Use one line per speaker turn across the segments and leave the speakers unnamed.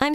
I'm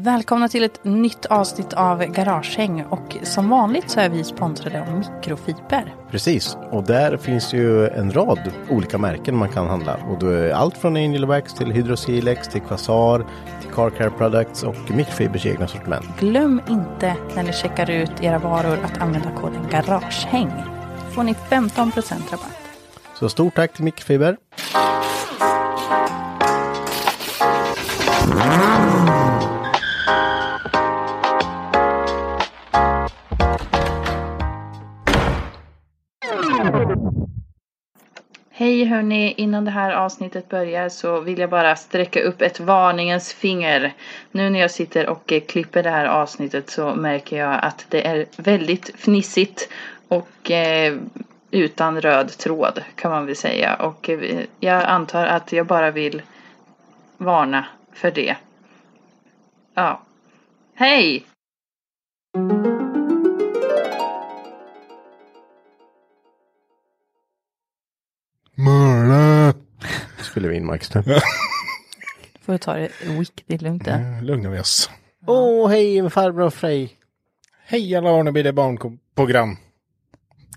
Välkomna till ett nytt avsnitt av Garagehäng och som vanligt så är vi sponsrade av mikrofiber.
Precis, och där finns ju en rad olika märken man kan handla. Och då är allt från Angel Wax till Hydrosilex till Quasar till Car Care Products och Mikrofibers egna sortiment.
Glöm inte när ni checkar ut era varor att använda koden Garagehäng. Får ni 15% rabatt.
Så stort tack till Mikrofiber.
Hej hörni, innan det här avsnittet börjar så vill jag bara sträcka upp ett varningens finger. Nu när jag sitter och eh, klipper det här avsnittet så märker jag att det är väldigt fnissigt och eh, utan röd tråd kan man väl säga. Och eh, jag antar att jag bara vill varna för det. Ja. Hej!
Mörda!
Spelar vi in Max nu.
Får du ta det riktigt lugnt
Mm.
där.
Lugna vi oss.
Åh, hej farbror Frej.
Hej alla barn, nu blir det barnprogram.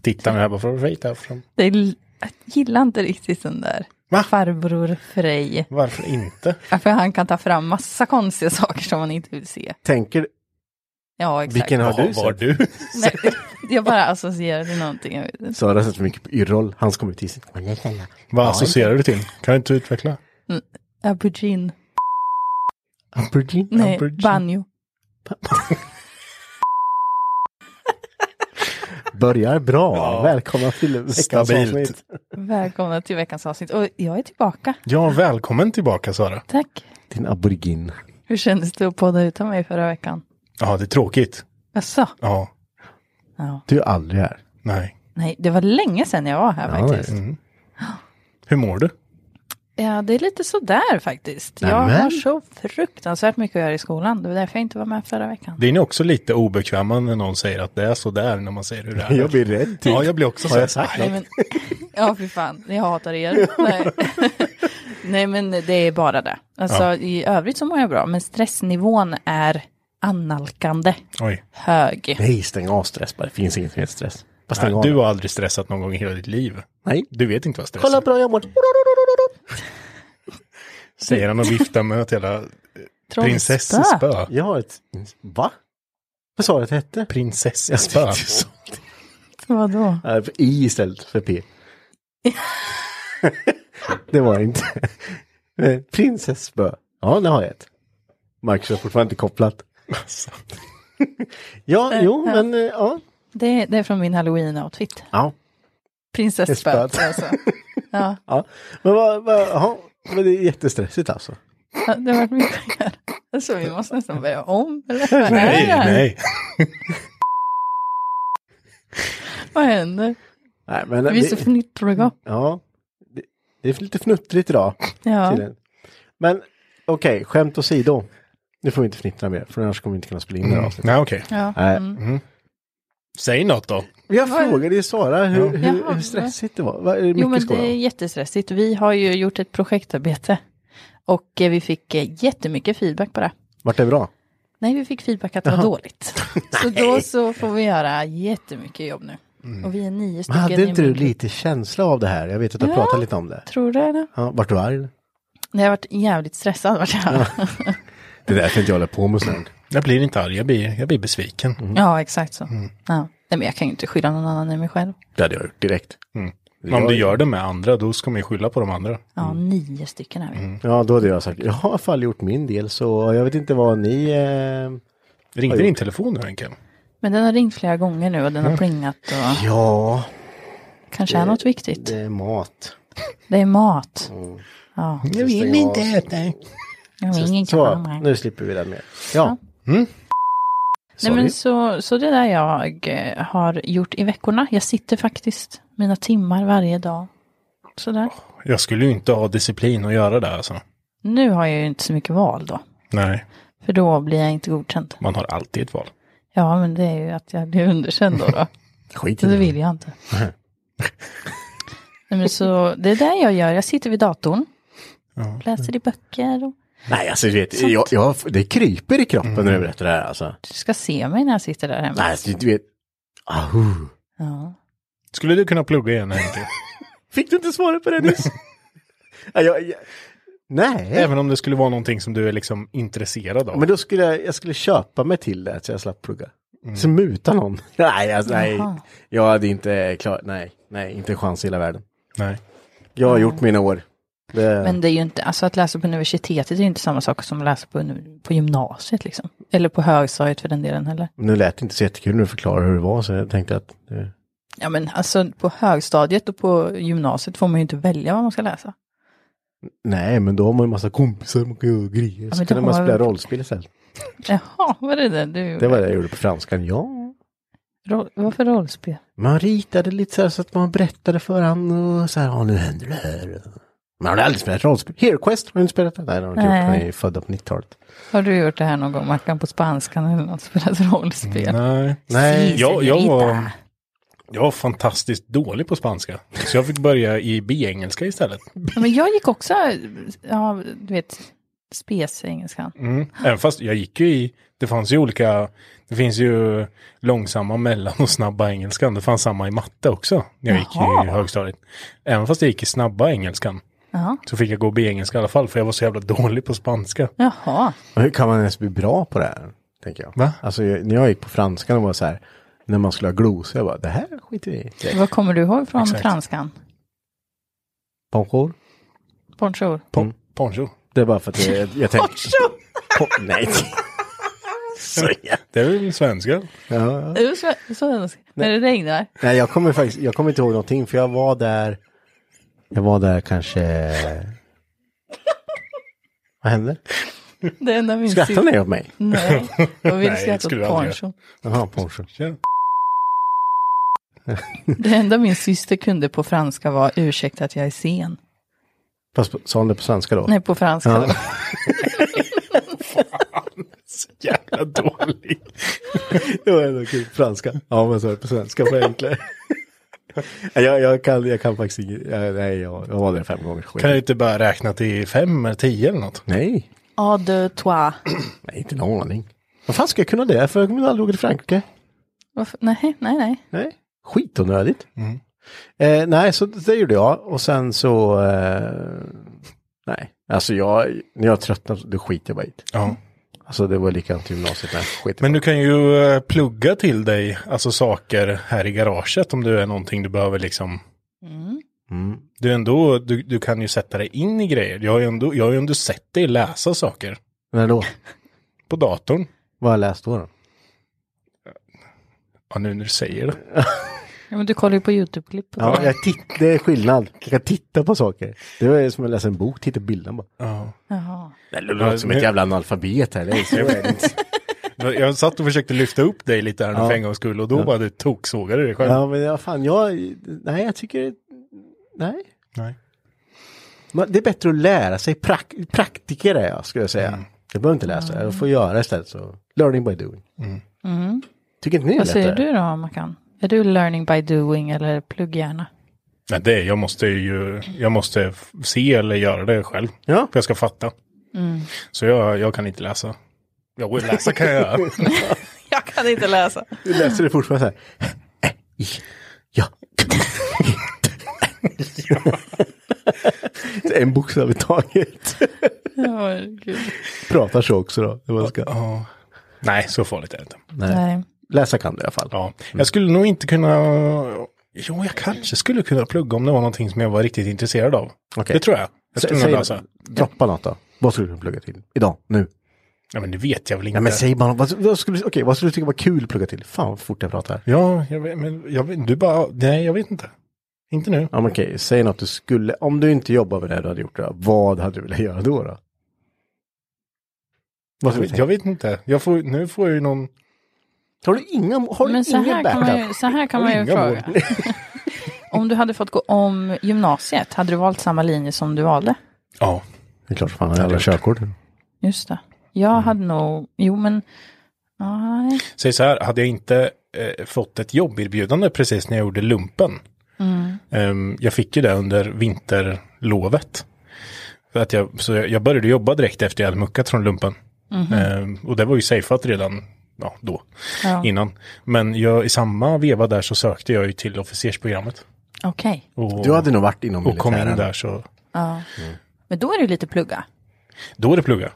Titta nu här på Frej härifrån.
Det är l- Jag gillar inte riktigt den där.
Va?
Farbror Frej.
Varför inte?
Ja, För han kan ta fram massa konstiga saker som man inte vill se.
Tänker,
Ja, exakt.
vilken har du
var
sett?
du?
Nej, jag bara associerade någonting. jag vet inte.
Sara har sett för mycket på Yrrol. Hans kommer till sin.
Vad associerar du till? Kan du inte utveckla?
Aubergine.
Aubergine?
Nej,
Aubergine.
banjo.
Börjar bra.
Ja.
Välkomna till veckans
Stabilt.
avsnitt.
Välkomna till veckans avsnitt. Och jag är tillbaka.
Ja, välkommen tillbaka Sara.
Tack.
Din aubergine.
Hur kändes det att podda utan mig förra veckan?
Ja, det är tråkigt.
Jaså?
Ja,
Ja.
Du är aldrig här.
nej.
Nej, det var länge sedan jag var här
Ja,
faktiskt.
Mm. Hur mår du?
Ja, det är lite sådär faktiskt. Jag
Nämen.
har så fruktansvärt mycket att göra i skolan. Det var därför jag inte var med förra veckan.
Det är ni också lite obekväma när någon säger att det är så där när man säger hur det är.
Jag blir rädd. typ.
Ja, jag blir också
Har jag
så här,
sagt
"Aj,
Nej, men, ja, fy fan. Jag hatar er. Nej. Nej, men det är bara det. Alltså, i övrigt så mår jag bra, men stressnivån är analkande
Oj.
hög.
Nej, stäng av stress bara. Det finns inget mer stress. Bara stäng
Nej,
av
du
den.
har aldrig stressat någon gång i hela ditt liv.
Nej.
Du vet inte vad stress
Kolla
är.
bra jag mår.
Säger han och viftar med ett hela prinsessespö.
Jag har ett... Va? Vad sa du att det hette?
Prinsessespö.
Vadå?
Ja, för I istället för P. det var det inte. Eh, Prinsessspö. Ja, det har jag ett. Marcus har fortfarande inte kopplat.
Alltså.
ja, jo, men eh, ja.
Det är, det är från min halloween-outfit.
ja.
Prinsessspöet
Spöet.
alltså. Ja,
ja. Men, vad, vad, ja. men det är jättestressigt alltså.
ja, det har varit mycket att göra. Alltså, vi måste nästan börja om. Eller vad är
Nej,
det här?
nej.
Vad händer?
Nej, men,
Vi är så
det,
fnittriga.
ja. det, det är lite fnuttrigt idag.
Ja.
tydligen. Men Okej, skämt åsido. Nu får vi inte fnittra mer, för annars kommer vi inte kunna spela in det här avsnittet.
Nej, okej.
Ja.
Nej.
Säg något då.
Jag frågade ju Sara hur, hur,
Jaha.
hur stressigt det var. Var det
Jo, men
mycket
det är
skoj?
jättestressigt. Vi har ju gjort ett projektarbete och eh, vi fick eh, jättemycket feedback på det.
Vart det bra?
Nej, vi fick feedback att det var dåligt. så då så får vi göra jättemycket jobb nu. Och vi är nio
Mm. Men
stycken.
hade
i
inte du
min-
lite känsla av det här? Jag vet att du har
Ja.
pratat lite om det.
Tror du det?
Ja, vart du arg?
Nej, jag har varit jävligt stressad. Vart jag. Ja.
Det är därför inte jag håller på med sånt.
Jag blir inte arg, jag blir, jag blir besviken.
Mm.
exakt så. Ja. Nej, men jag kan ju inte skylla någon annan än mig själv.
Det hade jag gjort direkt.
Men om du gör det med andra, då ska man ju skylla på de andra.
Ja,
Mm.
nio stycken är vi.
Ja, då hade jag sagt, jag har i alla fall gjort min del så jag vet inte vad ni... Eh...
Ringde din telefon nu, Henke?
Men den har ringt flera gånger nu och den har plingat och
Ja,
kanske är något viktigt.
det är mat.
Det är mat.
Jag vill inte äta.
Jag har ingen
Mm. Så,
kamera.
nu slipper vi det mer. Ja. Mm.
Nej,
Sorry.
men så, så det är det jag eh, har gjort i veckorna. Jag sitter faktiskt mina timmar varje dag. Sådär.
Jag skulle ju inte ha disciplin att göra det alltså.
Nu har jag ju inte så mycket val då.
Nej,
För då blir jag inte godkänd.
man har alltid ett val.
Ja, men det är ju att jag blir underkänd då. då.
Skit
Så
i
det
det.
vill jag inte. Nej, men så, det är det jag gör. Jag sitter vid datorn. Läser i böcker. Och
Nej, alltså du vet, jag, jag, det kryper i kroppen
Mm.
när du berättar det här alltså.
du ska se mig när jag sitter där hemma.
Nej, alltså, du vet. Ahu.
Ja.
Skulle du kunna plugga igen, Henke?
Fick du inte svaret på det nyss? Nej, jag, jag, nej.
Även om det skulle vara någonting som du är liksom intresserad av.
men då skulle jag, jag skulle köpa mig till det så jag slapp plugga. Så muta någon. Nej, alltså, nej.
Jaha.
Jag hade inte klart, nej, nej, inte en chans i hela världen.
Nej.
Jag har gjort mina år. Det,
Men det är ju inte, alltså att läsa på universitetet är ju inte samma sak som att läsa på, uni- på gymnasiet liksom. Eller på högstadiet för den delen heller.
Nu lät det inte så jättekul när du förklarade hur det var så jag tänkte att eh,
Ja men alltså på högstadiet och på gymnasiet får man ju inte välja vad man ska läsa.
nej, men då har man ju massa kompisar, man kan göra grejer.
men
så
då har
kunde man
man-
spela rollspel istället.
Jaha, vad är det du
Det var det jag gjorde på franskan, ja.
Roll, Vad för rollspel?
Man ritade lite så här så att man berättade för han och så här, ja nu händer det här. Man har aldrig spelat rollspel. Hero Quest har du inte spelat det? Nej, det har du inte
Nej.
gjort. Han är ju född på 90-talet.
Har du gjort det här någon gång, Mackan, på spanskan eller något? Spelat
Mm.
rollspel?
Nej.
Nej.
Jag, jag, var,
señorita.
jag var fantastiskt dålig på spanska. Så jag fick börja i B-engelska istället.
Ja, Men jag gick också, ja du vet, spes i engelskan.
Mm. Även fast jag gick ju i, det fanns ju olika, det finns ju långsamma, mellan och snabba engelskan. Det fanns samma i matte också när jag gick i
Jaha.
högstadiet. Även fast jag gick i snabba engelskan
Ja.
så fick jag gå B-engelska i alla fall för jag var så jävla dålig på spanska.
Jaha,
Men hur kan man ens bli bra på det här? Tänker jag.
Va?
Alltså jag, när jag gick på franskan och var så här, när man skulle ha glosor, jag bara, det här skiter vi i. direkt.
vad kommer du ihåg från
Exakt.
franskan?
Bonjour.
Bonjour.
Po- Poncho.
Mm. Det är bara för att jag, jag tänkte... Po- Nej. så jä-
Det är väl svenska?
ja.
Är du sve- svensk? När det regnar?
Nej, jag kommer faktiskt, jag kommer inte ihåg någonting för jag var där, jag var där kanske... Vad hände?
Det enda minns
Skrattar ni åt mig?
Nej, jag vill
Nej,
skratta
skulle
åt
jag aldrig
Poncho.
Jaha, Porsche.
Tja.
Det enda min syster kunde på franska var ursäkta att jag är sen.
Fast på- sa hon det på svenska då?
Nej, på franska.
Ja.
Så jävla dålig.
det var ändå kul. Franska. Ja, men så är det på svenska för enklare. Nej, jag, jag, kan, jag kan faktiskt inget. Jag, nej, jag, jag var där fem gånger. Skit.
Kan jag inte bara räkna till fem eller tio eller något?
Nej,
A de toi.
nej, inte en aning. Vad fan ska jag kunna det? För jag kommer aldrig åka till Frankrike.
Varför? Nej, nej, nej.
Nej, skitonödigt.
Mm.
Eh, nej, så det gjorde jag. Och sen så... Eh, nej, alltså jag, när jag tröttnade, då skiter jag bara i det.
Ja.
Alltså det var likadant i gymnasiet. Nej, skit i
Men
det.
du kan ju eh, plugga till dig, alltså saker här i garaget om det är någonting du behöver liksom.
Mm.
Du, är ändå, du, du kan ju sätta dig in i grejer. Jag har ju ändå, jag har ju ändå sett dig läsa saker
När då?
på datorn.
Vad har jag läst då? då?
Ja, nu när du säger det.
Ja, men du kollar ju på YouTube-klipp. och
Ja,
så.
jag titt- det är skillnad. Jag kan titta på saker. Det är som att läsa en bok, titta på bilden bara.
Ja.
Jaha.
Det låter som ett jävla analfabet här. Det är så är det inte.
Jag satt och försökte lyfta upp dig lite här nu
Ja.
för en gångs skull och då bara du toksågade dig själv.
Ja, men ja, fan, jag... Nej, jag tycker... Nej.
Nej.
Men Det är bättre att lära sig. Prak praktiker är jag, skulle jag
Mm.
säga. Du behöver inte läsa, du får göra istället. Så. Learning by doing.
Mm.
Tycker inte ni det är
Mm. Vad säger
lättare?
du då, Makan? Är du learning by doing eller plugghjärna?
Nej, det är, jag måste ju jag måste f- se eller göra det själv.
Ja.
För jag ska fatta. Så jag, jag kan inte läsa. Jag vill läsa kan jag göra.
Jag kan inte läsa.
Du läser det fortfarande så här. Ja. Så en bokstav i taget. Pratar så också då. när man ska-
Ja. Nej, så farligt är det inte.
Nej.
Läsa kan du i alla fall.
Ja. Jag skulle nog inte kunna... Jo, jag kanske skulle kunna plugga om det var någonting som jag var riktigt intresserad av.
Okej.
Det tror jag. Jag skulle
Sä-
nog
säg-
läsa.
Droppa något då. Vad skulle du kunna plugga till? Idag, nu.
Ja, men det vet jag väl inte.
Nej men säg bara, vad, vad, skulle, okej, vad skulle du tycka var kul att plugga till? Fan vad fort jag pratar.
Ja, jag vet, men jag vet, du bara... Nej, jag vet inte. Inte nu.
Ja men okej, säg något du skulle, om du inte jobbar med det du hade gjort då, vad hade du velat göra då? då? Vad skulle
Jag
du
vet,
tänka?
jag vet inte. Jag får, nu får jag ju någon...
Har du inga, har du
Men så
ingen
här, kan
backup?
man ju, så här kan man ju
Inga mål.
fråga. Om du hade fått gå om gymnasiet, hade du valt samma linje som du valde?
Ja.
Det är klart fan, jag hade körkort.
Mm,
Just det. Jag hade nog, jo men, nej.
Säg så här, hade jag inte eh, fått ett jobberbjudande precis när jag gjorde lumpen. Ehm, jag fick ju det under vinterlovet. För att jag, så jag, jag började jobba direkt efter jag hade muckat från lumpen.
Mhm.
Ehm, och det var ju safeat redan ja, då,
Ja.
innan. Men jag, i samma veva där så sökte jag ju till officersprogrammet.
Okej.
Och,
Du hade nog varit inom
och kom in
militären.
där så,
Men då är det lite plugga.
då är det plugga.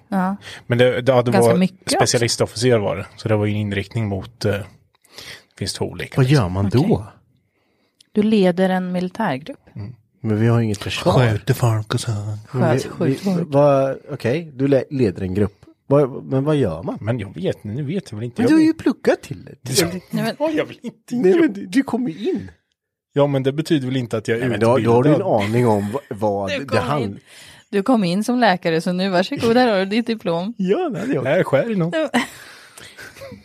Men det, det, ja, det
Ganska
var
mycket
specialistofficer var det. Så det var ju en inriktning mot, eh, det finns två olika.
Vad gör man då?
Du leder en militärgrupp.
Men vi har ju inget försvar.
folk och så.
Men vi-
Sköt sjukt
vi-
folk.
vad- Okej, du le- leder en grupp. Vad- men vad gör man?
Men jag vet, nu vet jag väl inte.
Men
Jag
du har
vet-
ju pluggat till det.
Ja, ja, jag vill inte.
Nej men du- du kommer ju in.
Ja, men det betyder väl inte att jag är
Nej, men
utbildad.
då, då har du en aning om vad- vad
Du
det
kom
handlar
in. Du kom in som läkare så nu varsågod, här har du ditt diplom.
Ja, det hade jag.
Nej, skär i någon.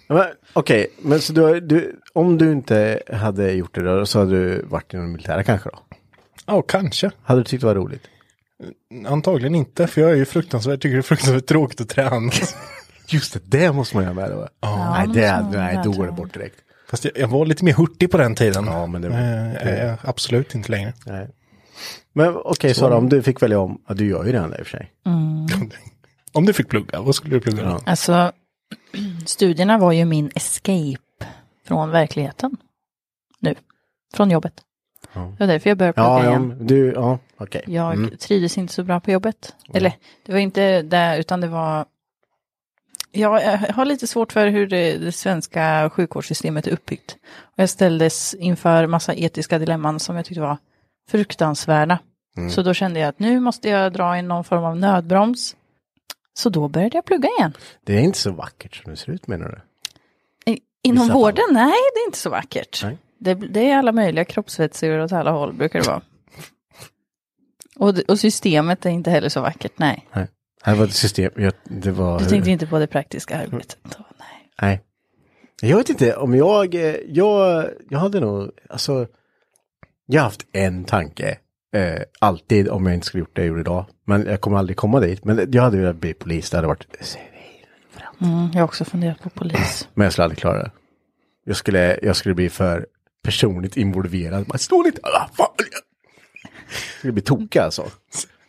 Men, Okej, men så du, har- du, om du inte hade gjort det då, så hade du varit inom det militära kanske då?
Ja, kanske.
Hade du tyckt det var roligt?
Antagligen inte, för jag är ju fruktansvärt, tycker det är fruktansvärt tråkigt att träna.
Just det, det måste man göra med då.
Ja.
nej, det,
Ja, men så-
nej, då
där
går
tror
det
jag.
bort direkt.
Fast jag, jag var lite mer hurtig på den tiden.
Ja, men det-
Eh, är jag absolut inte längre.
Nej. Men okej Sara, om du fick välja om, ja, du gör ju redan det i och för sig.
Om du fick plugga, vad skulle du plugga?
Ja.
Alltså, studierna var ju min escape från verkligheten. Nu, från jobbet.
Ja.
Det var därför jag började plugga
Ja, ja,
igen.
du, ja, okej.
Jag trivdes inte så bra på jobbet. Eller, det var inte det, utan det var... Jag eh, har lite svårt för hur det, det svenska sjukvårdssystemet är uppbyggt. Och jag ställdes inför massa etiska dilemman som jag tyckte var fruktansvärda.
Mm.
Så då kände jag att nu måste jag dra in någon form av nödbroms. Så då började jag plugga igen.
Det är inte så vackert som det ser ut menar du?
I- Inom
Vissa fall.
vården? Nej, det är inte så vackert.
Nej.
Det, det är alla möjliga kroppsvätskor åt alla håll, brukar det vara. Och, d- och systemet är inte heller så vackert, nej.
Nej. Det var ett system, jag, det var...
Du tänkte inte på det praktiska arbetet då, nej.
Nej. Jag vet inte om jag, eh, jag, jag hade nog, alltså, jag har haft en tanke. Eh, alltid om jag inte skulle gjort det jag gjorde idag. Men jag kommer aldrig komma dit. Men jag hade velat bli polis, det hade varit,
Mm, jag har också funderat på polis.
men jag skulle aldrig klara det. Jag skulle, jag skulle bli för personligt involverad. Man står lite, ah, fan. Jag skulle bli tokig alltså.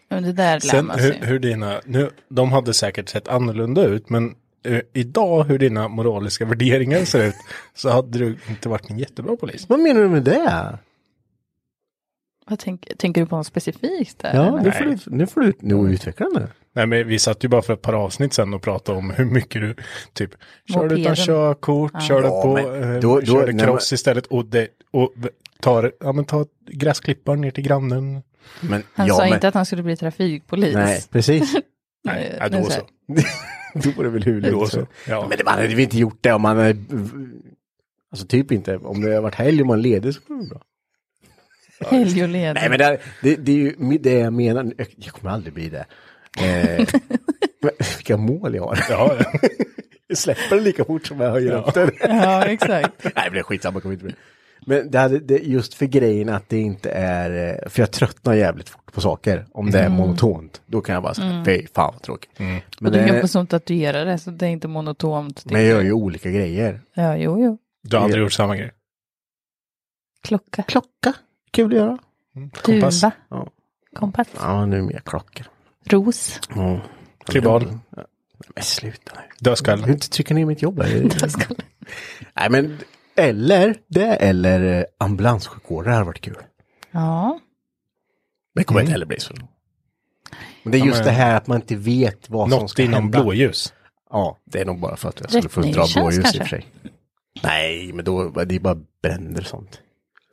Men det där lär
Sen
man sig.
hur, hur dina, nu, de hade säkert sett annorlunda ut, men eh, idag hur dina moraliska värderingar ser ut, så hade du inte varit en jättebra polis.
Vad menar du med det?
Vad tänk, tänker du på något specifikt där?
Ja,
eller?
nu får du, nu får du nu
Mm.
utveckla nu.
Nej men vi satt ju bara för ett par avsnitt sen och pratade om hur mycket du typ körde
Mopeden.
utan körkort, körde
Ja,
på,
men
eh,
då- då-
körde
när
cross
man-
istället och, det, och v- tar, ja men ta gräsklipparen ner till grannen.
Men,
Han
ja,
sa
men,
inte att han skulle bli trafikpolis.
Nej, precis.
Nej, ja,
nu
då
så.
så.
Då var det väl hur
Då
lätt
så. Ja.
Men det- man hade väl inte gjort det om man hade... Alltså typ inte. Om det har varit helg och man leder så går det bra.
Helg och ledig.
Nej men det, det, det är ju det jag menar. Jag- Jag kommer aldrig bli det. Eh, men vilka mål jag har.
Ja, ja.
Jag släpper det lika fort som jag höjer upp den.
Ja, exakt.
Nej men det är skitsamma, jag kommer inte bli det. Men det hade, det, just för grejen att det inte är, eh, för jag tröttnar jävligt fort på saker. Om det
Mm.
är monotont, då kan jag bara säga, fy fan vad tråkigt. Men,
och du är
det-
ganska som tatuerare så det är inte monotont.
men jag gör ju olika grejer.
Ja, jo, jo.
Du har aldrig gjort samma grej.
Klocka.
Klocka, kul att göra.
Kompass.
Duva.
Ja.
Kompass.
Ja, nu är det mer klockor.
Ros.
Ja.
Tribal.
Ja, Men sluta nu. Du
Dödskalle.
inte trycka ner mitt jobb här. Nej men, eller det eller eh, ambulanssjukvårdare hade varit kul.
Ja.
Det kommer inte heller bli så. Men det är just
men-
det här att man inte vet vad som
Något
ska
inom
hända.
blåljus.
Ja, det är nog bara för att jag skulle få dra
Räddningstjänst
blåljus i och för
kanske?
sig. Nej, men då, det är bara bränder och sånt.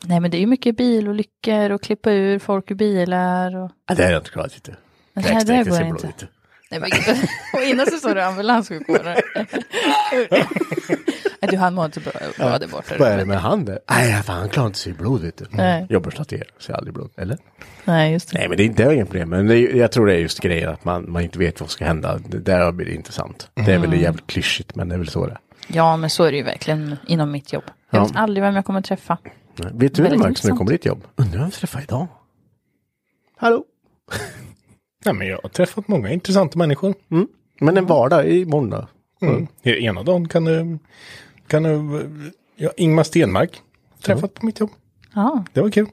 Nej, men det är ju mycket bilolyckor och klippa ur folk ur bilar. Och...
Ja, det har jag inte klarat inte.
Men det här där går inte. Nej, men, och innan så sa du ambulanssjukvårdare. Nej, du hann må inte bra, bra där borta.
Vad är det med han där? Nej, fan, han klarar inte sig i blod vet du.
Nej.
Jag bröstar till er, så jag aldrig blod. Eller?
Nej, just det.
Nej, men det är inte det är inget problem. Men det, är- jag tror det är just grejen att man, man inte vet vad som ska hända. Det där blir det intressant. Det är
Mm.
väl jävligt klyschigt, men det är väl så det är.
Ja, men så är det ju verkligen inom mitt jobb. Jag
Ja.
vet aldrig vem jag kommer träffa.
Nej. Vet du hur det
Mm. Väldigt
märks när du
intressant.
kommer ditt jobb? Undrar vem jag träffar idag? Hallå?
Nej, men jag har träffat många intressanta människor.
Men en vardag i måndag.
Mm. I Ena dagen kan du... Kan du ja, Ingmar Stenmark träffat på mitt jobb.
Ja,
Det var kul.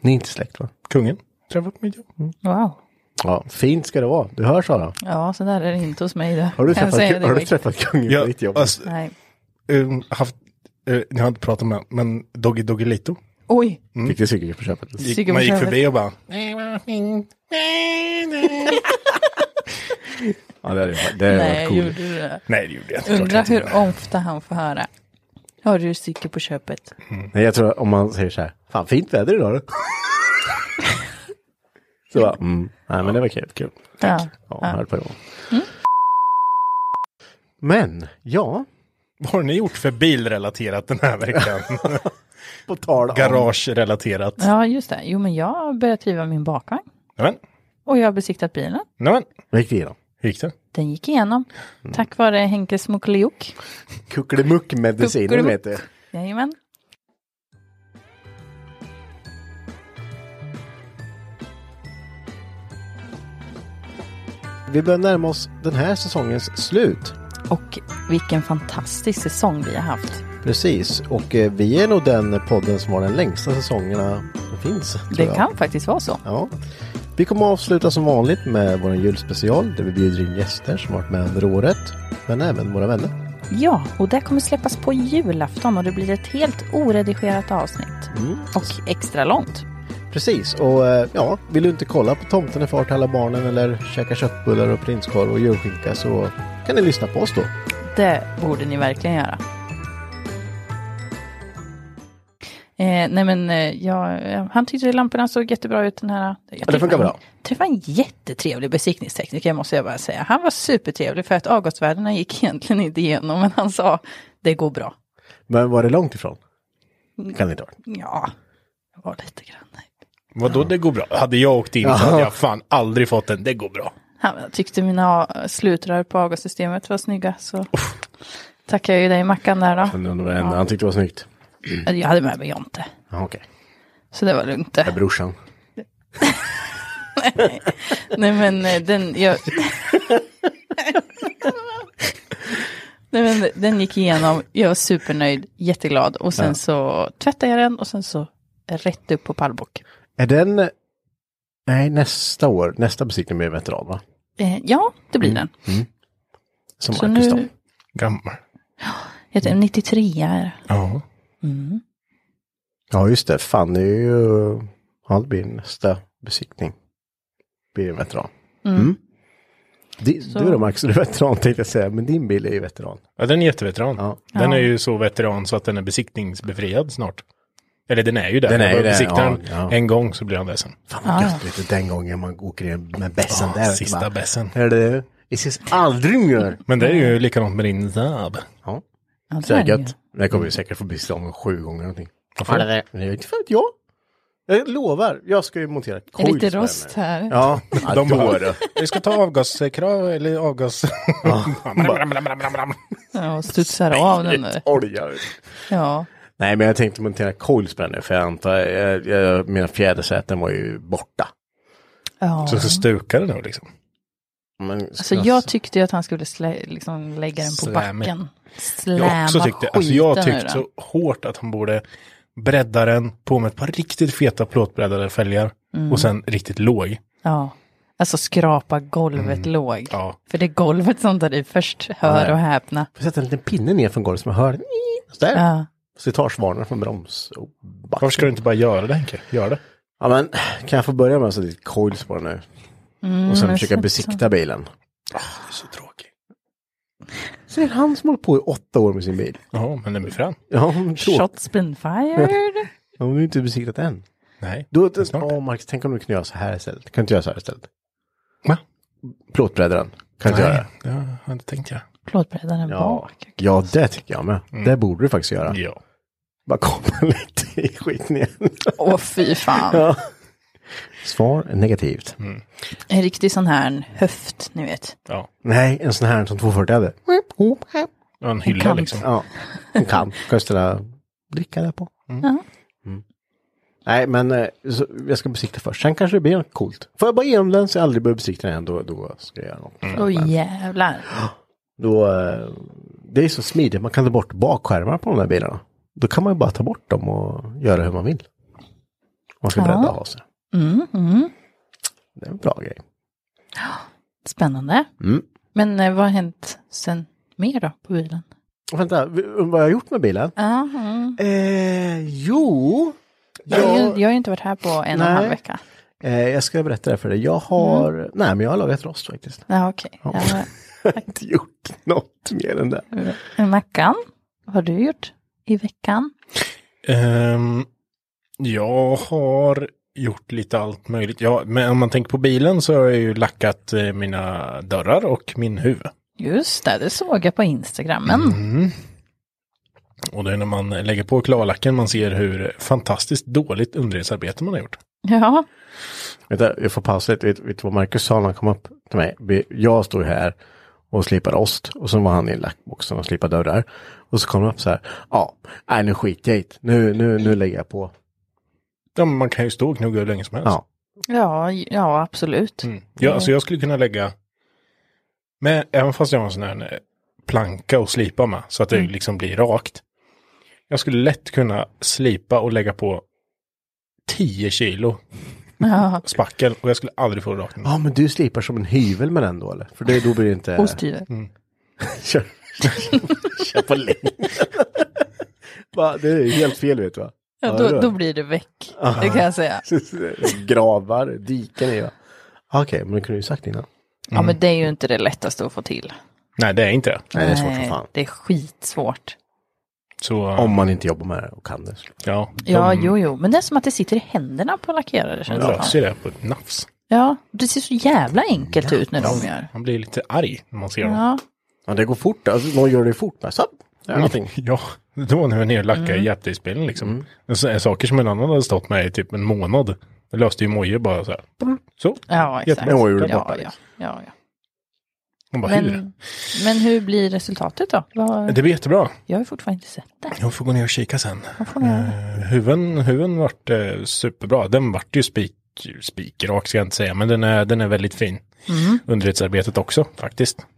Ni är inte släkt va?
Kungen träffat på mitt jobb.
wow.
Ja, fint ska det vara. Du hör Sara.
Ja, så där är det inte hos mig. Då.
Har du
Kan jag
träffat,
säga det
har du
direkt?
träffat kungen på ditt jobb?
Jag alltså,
Nej.
um, haft... eh, jag har inte pratat med honom, men Doggy Doggelito.
Oj,
Fick du psykisk på köpet?
Gick,
Sigge
man gick
Forsell.
förbi och bara...
Ja, det är det.
nej,
är
gjorde
cool.
du det?
Nej, det gjorde jag inte.
Undrar
Klart jag inte
hur
gjorde.
ofta han får höra. Har du cykel på köpet?
Nej, jag tror om man säger så här. Fan, fint väder idag då. så bara, mm. Nej, men det var kul. kul.
Ja. Mm.
Ja, ja. höll på igång. Men, ja.
Vad har ni gjort för bilrelaterat den här veckan?
På tal om...
Garagerelaterat.
ja, just det. Jo, men jag har börjat driva min bakvagn.
Nämen,
Och jag har besiktat bilen.
nämen.
Vad gick det igenom?
Hur gick det?
Den gick igenom. Tack vare Henkes Mokeliok.
Kuckelimuck-medicinen
Kuckelimuck.
vet du.
Jajamän.
Vi börjar närma oss den här säsongens slut.
Och vilken fantastisk säsong vi har haft.
Precis, och eh, vi är nog den podden som har den längsta säsongerna som finns. tror
Det
jag.
kan faktiskt vara så.
Ja. Vi kommer att avsluta som vanligt med vår julspecial där vi bjuder in gäster som varit med under året. Men även våra vänner.
Ja, och det kommer släppas på julafton och det blir ett helt oredigerat avsnitt. Och extra långt.
Precis, och eh, ja, vill du inte kolla på Tomten är far till alla barnen eller käka köttbullar och prinskorv och julskinka så kan ni lyssna på oss då.
Det borde ni verkligen göra. Eh, nej men eh, jag, eh, han tyckte lamporna såg jättebra ut den här. Jag träffade
funkar
en-
bra.
Träffade en jättetrevlig besiktningstekniker måste jag bara säga. Han var supertrevlig för att avgasvärdena gick egentligen inte igenom men han sa det går bra.
Men var det långt ifrån? Kan det inte ha varit.
Ja, det var lite grann.
Vadå det går bra? Hade jag åkt in så hade jag fan aldrig fått den. Det går bra.
Han tyckte mina eh, slutrör på avgassystemet var snygga så tackar jag ju dig Mackan där då.
Men det var det enda han tyckte var snyggt. Mm.
Jag hade med mig Jonte
Ja, okej.
så det var lugnt. det.
Det är brorsan.
Nej men eh, den, jag... Nej, men den gick igenom, jag var supernöjd, jätteglad och sen så tvättade jag den och sen så rätt upp på pallbock.
Är den... Nej, nästa år. Nästa besiktning blir veteran va?
Eh, ja, det
Mm.
blir den.
Som
Så
Marcus
nu-
nu...
Gammal.
Heter den 93 är det.
Ja.
Mm.
Ja, just det. Fanny är ju... Ja, det blir nästa besiktning. Blir en veteran. Mm. Di- Du då Max, du är veteran tänkte jag säga, men din bil är ju veteran.
Ja, den är jätteveteran.
Ja.
Den är ju så veteran så att den är besiktningsbefriad snart. Eller den är ju det.
Den är
Jag
ju
bara
det,
besiktar
ja,
den
ja.
en gång så blir han ledsen.
Fan vad
Ah.
gött, vet du, den gången man åker in med bässen
Ja,
där. vet du,
sista
bara,
bässen.
Är det Vi ses aldrig mer.
Men det är ju likadant med din Saab.
Ja,
Ja, det är den ju.
säkert. Det kommer vi
Mm.
säkert få beställa om sju gånger någonting. Varför? Det är inte för att jag. Jag lovar, jag ska ju montera
Det är
coils på
lite
den
rost
nu.
här.
Ja,
De
då
bara,
är det.
vi ska ta avgaskrav eller avgas...
Ja, bara,
Ja, och studsar av den nu.
olja.
Ja,
Nej, men jag tänkte montera coils på den nu, för jag antar, jag, jag, mina fjädersäten var ju borta.
Ja.
Så, så stukar det nog liksom.
Men,
Alltså jag tyckte ju att han skulle slä, liksom lägga den på
Slämmigt.
backen.
Jag
Släma
också tyckte, alltså jag
skiten ur
tyckte
den.
så hårt att han borde bredda den på med ett par riktigt feta plåtbreddade fälgar och sen riktigt låg.
Ja. Alltså skrapa golvet låg.
Ja.
För det är golvet som tar i först, hör och häpna.
Får sätta en liten pinne ner från golvet som jag hör. Sådär.
Ja.
Slitagevarnare från broms och back.
Varför ska du inte bara göra det Henke? Gör det.
Ja, men kan jag få börja med att sätta dit coils på den nu? och sen försöka besikta bilen.
Ah, Det är så tråkigt.
Så är det han som håller på i åtta år med sin bil.
Ja, men den blir fram.
Ja, men tråkigt.
Shots been fired.
Ja, men du har inte besiktat än.
Nej.
Då,
är snart.
åh, Max, tänk om du kunde göra så här istället. Kan du inte göra så här istället?
Va?
Plåtbreddaren. Kan du inte göra
Nej,
det?
det har inte tänkt jag.
Plåtbreddaren
Ja.
bak.
ja, det tycker jag med. Det borde du faktiskt göra.
Mm. Ja.
Bara komma lite i skiten igen.
Åh fy fan.
Ja. Svar negativt.
Mm.
En riktig sån här höft, ni vet.
ja.
Nej, en sån här som 240 hade.
Ja, En hylla
Kant.
liksom.
Ja, hon kan. Kan jag ställa dricka där på.
Mm.
Mm.
Ja.
Nej, men eh, så, jag ska besikta först. Sen kanske det blir något coolt. Får jag bara igenom den så jag aldrig behöver besikta den igen, då, då ska jag göra något.
Åh jävlar.
Då, eh, det är så smidigt, man kan ta bort bakskärmar på de där bilarna. Då kan man ju bara ta bort dem och göra hur man vill. Om Man ska
Ja.
bredda och ha sig.
Mm, mm.
Det är en bra grej.
Spännande.
Mm.
Men eh, vad har hänt sen mer då på bilen?
Och vänta, v- vad har jag gjort med bilen?
Uh-huh.
Eh, jo,
Jag, har ju- jag har ju inte varit här på en och en
Nej.
halv vecka.
eh, jag ska berätta det för dig. Jag har, nej men jag har lagat rost faktiskt.
Ja, okej. Ja.
Jag har inte gjort något mer än det.
men- Eh, Mackan, vad har du gjort i veckan?
Ehm, jag har gjort lite allt möjligt. Ja, men om man tänker på bilen så har jag ju lackat eh, mina dörrar och min huvud.
Just det, det såg jag på Instagrammen.
Mm. Och det är när man lägger på klarlacken man ser hur fantastiskt dåligt underredsarbete man har gjort.
Ja,
Vänta, jag får pausa lite. Vet, vet du vad Marcus sa när han kom upp till mig? Vi- Jag stod här och slipade rost och så var han i lackboxen och slipade dörrar. Och så kom han upp så här. Ja, nej nu skiter jag i det. Nu, nu, nu lägger jag på.
Ja, men man kan ju stå och gnugga hur länge som helst.
Ja.
ja, ja absolut.
Mm. Ja, alltså jag skulle kunna lägga, men även fast jag har en sån här eh, planka och slipa med så att det liksom blir rakt. Jag skulle lätt kunna slipa och lägga på 10 kilo
Ja.
spackel och jag skulle aldrig få det rakt.
Ja, men du slipar som en hyvel med den då eller? För det, då blir det inte...
Osthyvel.
Kör, kör på längden. Va, det är helt fel vet du va?
Ja,
det
då,
är- Mm.
då blir du väck, det kan jag säga.
Gravar, diken är jag. Okej, men det kunde du ju sagt innan.
Ja, men det är ju inte det lättaste att få till.
Nej, det är inte det.
Nej, det är svårt för fan.
det är skitsvårt.
Så,
Om man inte jobbar med det och kan det.
ja,
Ja, jo, jo, men det är som att det sitter i händerna på lackerare.
man
känns det som.
löser det på ett nafs.
Ja, det ser så jävla enkelt ut när de gör.
Man blir lite arg när man ser dem.
Ja,
Ja, det går fort. Alltså, någon gör det fort. Med. Så, det är någonting.
Mm.
Mm.
Ja, då när jag var nere och lackade i hjälpdelsbilen liksom. Men så- Saker som en annan hade stått med i typ en månad. Det löste ju Moje bara så här. Så.
ja exakt.
Jättebra.
Oj, gjorde det
ja,
borta,
ja, ja, ja.
Man bara, hur?
Men, men hur blir resultatet då? Vad-
Det blir jättebra.
Jag har ju fortfarande inte sett det.
Jag får gå ner och kika sen.
Vad får ni göra?
Eh, Huven, huven vart eh, superbra. Den vart ju spik, spikrak ska jag inte säga, men den är, den är väldigt fin. Underredsarbetet också faktiskt.
Mm.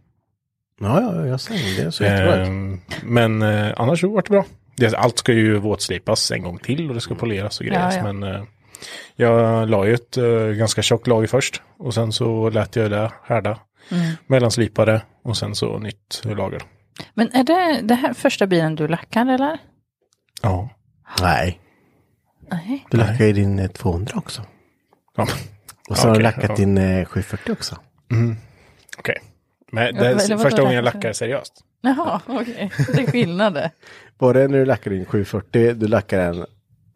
Ja, ja, ja, jag säger det. Det är så jättebra
Eh,
ut.
men eh, annars så vart det bra. Det, allt ska ju våtslipas en gång till och det ska poleras och grejas.
Ja, ja.
Men eh, jag la ju ett eh, ganska tjockt lager först och sen så lät jag det härda.
Mm.
Mellanslipade och sen så nytt lager.
Men är det det här första bilen du lackar eller?
Ja.
Nej,
Nej.
du lackade ju din eh, 200 också.
ja.
Och så har du
Okej,
lackat
ja. Mm.
din eh, 740 också.
Okej. Men
Ja,
det
eller
är
vadå
första gången jag
lackar?
lackar seriöst.
Jaha, okej. Det är skillnad det.
Var det när du lackade din 740, du lackade den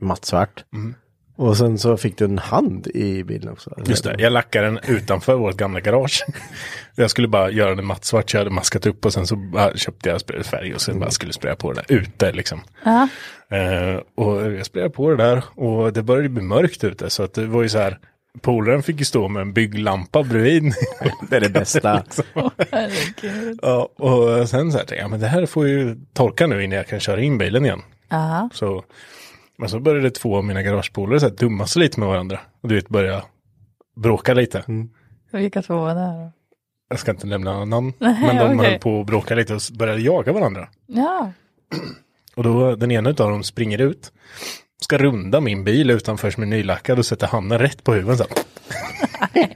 mattsvart.
Mm.
Och sen så fick du en hand i bilen också.
Just det, jag lackade den utanför vårt gamla garage. Jag skulle bara göra den mattsvart, så jag hade maskat upp och sen så bara köpte jag spray- färg och sen bara skulle spraya på det där ute liksom. Eh, och jag sprayade på det där och det började bli mörkt ute så att det var ju så här, polaren fick ju stå med en bygglampa bredvid.
Det är det bästa.
Herregud.
ja, och sen så här tänkte jag, men det här får ju torka nu innan jag kan köra in bilen igen.
Ja.
Så, men så började två av mina garagepolare så här dumma sig lite med varandra. Och du vet, börja bråka lite.
Mm.
Vilka två var det här då?
Jag ska inte nämna någon namn,
Nej,
men de
okej.
höll på att bråka lite och s- började jaga varandra.
Ja.
Och då den ena av dem springer ut, ska runda min bil utanför som är nylackad och sätter handen rätt på huven så här.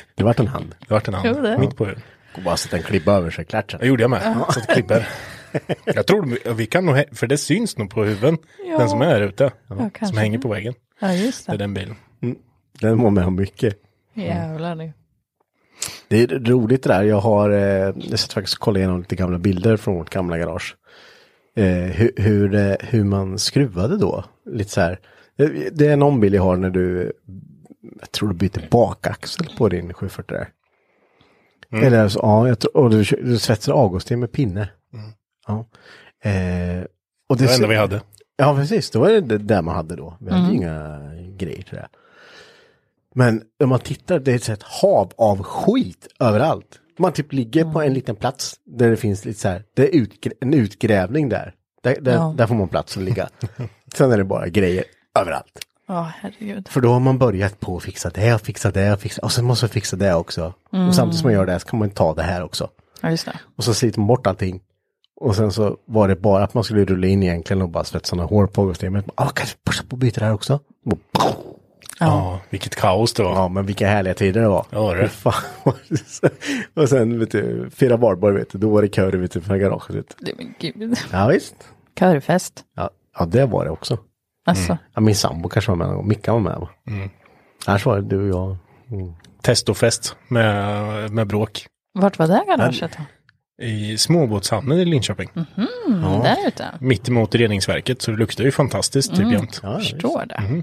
Det vart en hand.
Det vart en
Jo, det.
hand mitt på huven.
Går bara sätta en klibba över sig, klart sen.
Det gjorde jag med, så att det klibbar. Jag tror de- vi kan nog, hä- för det syns nog på huven,
Ja.
den som är här ute, som
kanske
hänger på väggen.
Ja, just
Det är
det.
den bilen.
Mm. Den var med om mycket.
Mm. Jävlar nu.
Det är roligt det där. Jag har, eh, jag satt faktiskt och kollade igenom lite gamla bilder från vårt gamla garage. Eh, hur, hur, eh, hur man skruvade då. Lite så här. Eh, Det är någon bild jag har när du, eh, jag tror du byter bakaxel på din 740 där.
Mm.
Eller så, ja, jag tror, och du, kö- du svetsar avgasten med pinne. Ja. Eh, och
Mm. Det
det,
var det enda
ser-
vi hade.
Ja, precis. Det var det där man hade då. Vi hade ju inga grejer till det. Men om man tittar, det är ett sånt hav av skit överallt. Man typ ligger på en liten plats där det finns lite så här, det är utgr- en utgrävning där. Där, där,
Ja.
där får man plats att ligga. Sen är det bara grejer överallt.
Ja, herregud.
För då har man börjat på att fixa det och fixa det och fixa, och sen måste man fixa det också. Och samtidigt som man gör det här så kan man ta det här också.
Ja, just det.
Och så sliter man bort allting. Och sen så var det bara att man skulle rulla in egentligen och bara svetsa några hår på systemet. Ah, kanske passa på att byta det här också. Och bara,
Ja, vilket kaos det var.
Ja, men vilka härliga tider det var.
Ja, det var det.
Fy Fan. och sen, vet du, fyra barbar, vet du, då var det kör vet du, från garaget. Vet du.
Det- Men gud.
Ja, visst.
Körfest.
Ja, ja, det var det också.
Alltså.
Ja, min sambo kanske var med och Mickan var med. va?
Mm.
Annars var det du och jag. Mm.
Testofest med, med bråk.
Vart var det garaget då?
I småbåtshamnen i Linköping.
Mm, Där ute?
Mitt emot reningsverket, så det luktar ju fantastiskt typ jämt. Mhm.
Ja, visst.
Förstår det.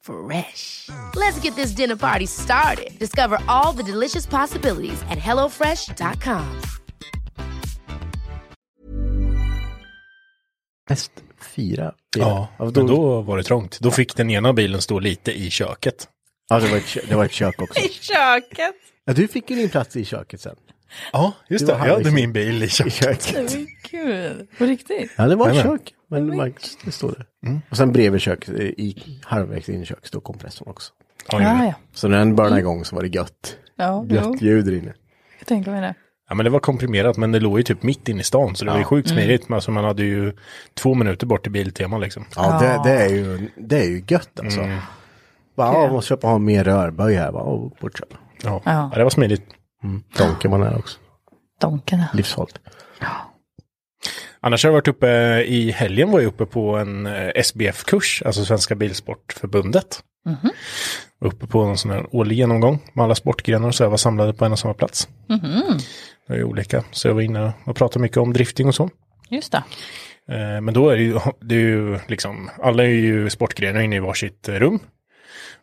Fresh. Let's get this dinner party started. Discover all the delicious possibilities at hellofresh.com.
mest fyra bilar.
Ja,
Av
men då var det trångt. Då fick den ena bilen stå lite i köket.
ja det, var ett, kö- det var ett kök också.
I köket.
Ja, du fick ju din plats i köket sen.
Ja, just
Det
det.
var
Jag hade
härligt.
min bil i köket.
köket.
Men gud. På riktigt?
Ja, det var ett
Jajamän.
kök. Men Marcus, det stod det.
Mm.
Och sen bredvid köket, eh, i, halvvägs in i köket, stod kompressorn också.
Ja,
Ja,
ja.
ja.
Så när den börnade igång så var det gött.
Ja, jo.
Gött ljud där inne.
Jag tänker mig det.
ja, men det var komprimerat, men det låg ju typ mitt inne i stan, så det var ju sjukt smidigt. Men alltså, man hade ju två minuter bort till Biltema liksom. Mm.
Ja, det, det, är, ju, det är ju gött alltså. Bara, ja, måste köpa, ha mer rörböj här. Bara, åh, bort köpa.
Ja, ja. det var smidigt.
Donken var nära också.
Donken.
Livsfarligt.
Annars har jag varit uppe i helgen var jag uppe på en eh, SBF-kurs, alltså Svenska Bilsportförbundet. Var Uppe på en sån här årlig genomgång med alla sportgrenar och så jag var samlade på en och samma plats. Det är ju olika, så jag var inne och pratade mycket om drifting och så.
Just det.
Eh, Men då är det ju, det är ju liksom, alla är ju sportgrenar inne i varsitt eh, rum.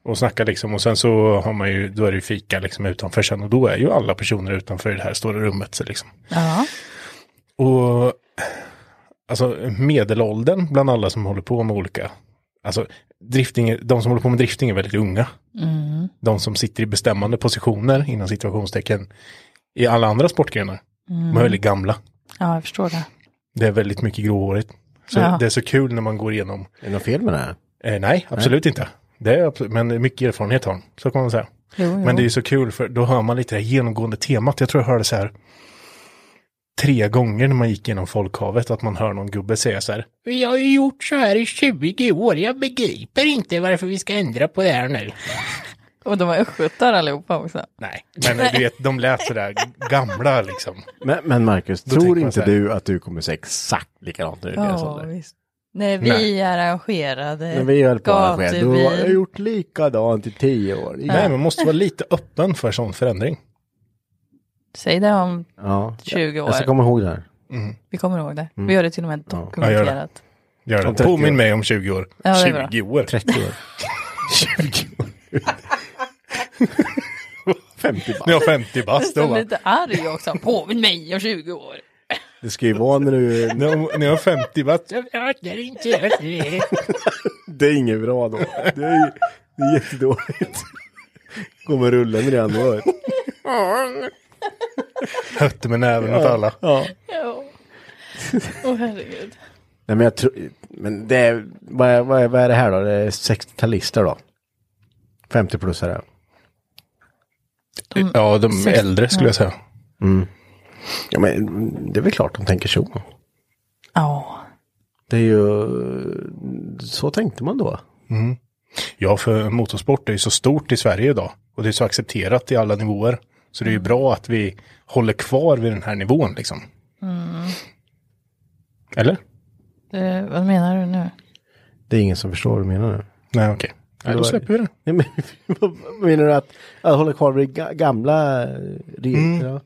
Och snackar liksom, och sen så har man ju, då är det ju fika liksom utanför sen, och då är ju alla personer utanför det här stora rummet. Så liksom.
Ja.
Och alltså medelåldern bland alla som håller på med olika, alltså drifting, de som håller på med drifting är väldigt unga. De som sitter i bestämmande positioner, inom situationstecken i alla andra sportgrenar, de är väldigt gamla.
ja, jag förstår det.
Det är väldigt mycket gråhårigt. Så
Ja.
det är så kul när man går igenom,
Är det något fel med det här?
eh, nej absolut inte, det är absolut, men mycket erfarenhet har de, så kan man säga.
Jo, jo.
Men det är ju så kul för då hör man lite det här genomgående temat. Jag tror jag hörde så här. tre gånger när man gick genom folkhavet att man hör någon gubbe säga så här. Vi har ju gjort så här i 20 år, jag begriper inte varför vi ska ändra på det här nu.
Och de var östgötar allihopa också.
Nej, men eh, du vet, de lät så där gamla liksom.
Men, men Marcus,
Då
tror
tänker man
inte
så här.
du att du kommer se exakt likadant ut i deras
Ja,
ålder?
visst. När vi
Nej.
arrangerade
När vi höll på att arrangera, då har jag
gatubyn.
gjort likadant i tio år.
Nej, man måste vara lite öppen för sån förändring.
Säg det om
Ja.
20 år.
Jag ska komma ihåg det här.
Vi kommer ihåg det.
Mm.
Vi gör det till och med
Ja, gör
dokumenterat.
Gör
Om
det.
30
Påminn
år.
mig om 20 år.
Ja, det är bra.
20 år.
30 år. 20 år. 50
När
bara.
jag är 50 bast, då
Nästan
va?
lite arg också. Påminn mig om 20 år.
Det ska ju vara när du...
När jag- när jag är 50 bast.
Det är inget bra då. Det är, ju- det är jättedåligt. Kommer rulla med det andra året.
Hötte med näven åt alla.
Ja.
Ja. Åh herregud.
Nej men jag tror... Men det är... Vad är, vad är, vad är det här då? Det är 60-talister då? 50-plussare.
Ja, de äldre skulle jag säga.
Mm. Ja men det är väl klart de tänker så.
Ja.
Det är ju... Så tänkte man då.
Mm. Ja, för motorsport är ju så stort i Sverige idag. Och det är så accepterat i alla nivåer. Så det är ju bra att vi håller kvar vid den här nivån liksom. Eller?
Det- Vad menar du nu?
Det är ingen som förstår vad du menar nu.
Nej, okej. Nej, då släpper vi det.
Nej, men, vad menar du att, att hålla kvar vid ga- gamla eh, regler?
Mm.
ja?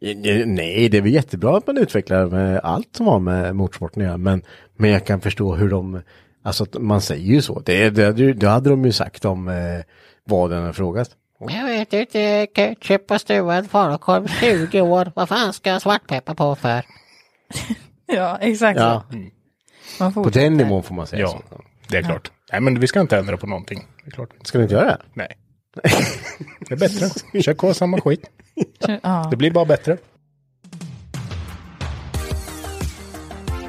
Ja, ja, Nej, det är väl jättebra att man utvecklar eh, allt som har med motorsporten att göra, men, men jag kan förstå hur de, alltså att man säger ju så, det, det, hade ju- det hade de ju sagt om eh, vad den har frågat.
Jag vet inte, ketchup och stuvad falukorv 20 år. Vad fan ska jag svartpeppar på för?
Ja, exakt
Ja,
så. Man
på
fortsätter.
den nivån får man säga
Ja,
så.
det är klart. Nej, men vi ska inte ändra på någonting. Det är klart.
Ska du inte göra det?
Nej. Det är bättre. Kör kvar samma skit.
Ja.
Det blir bara bättre.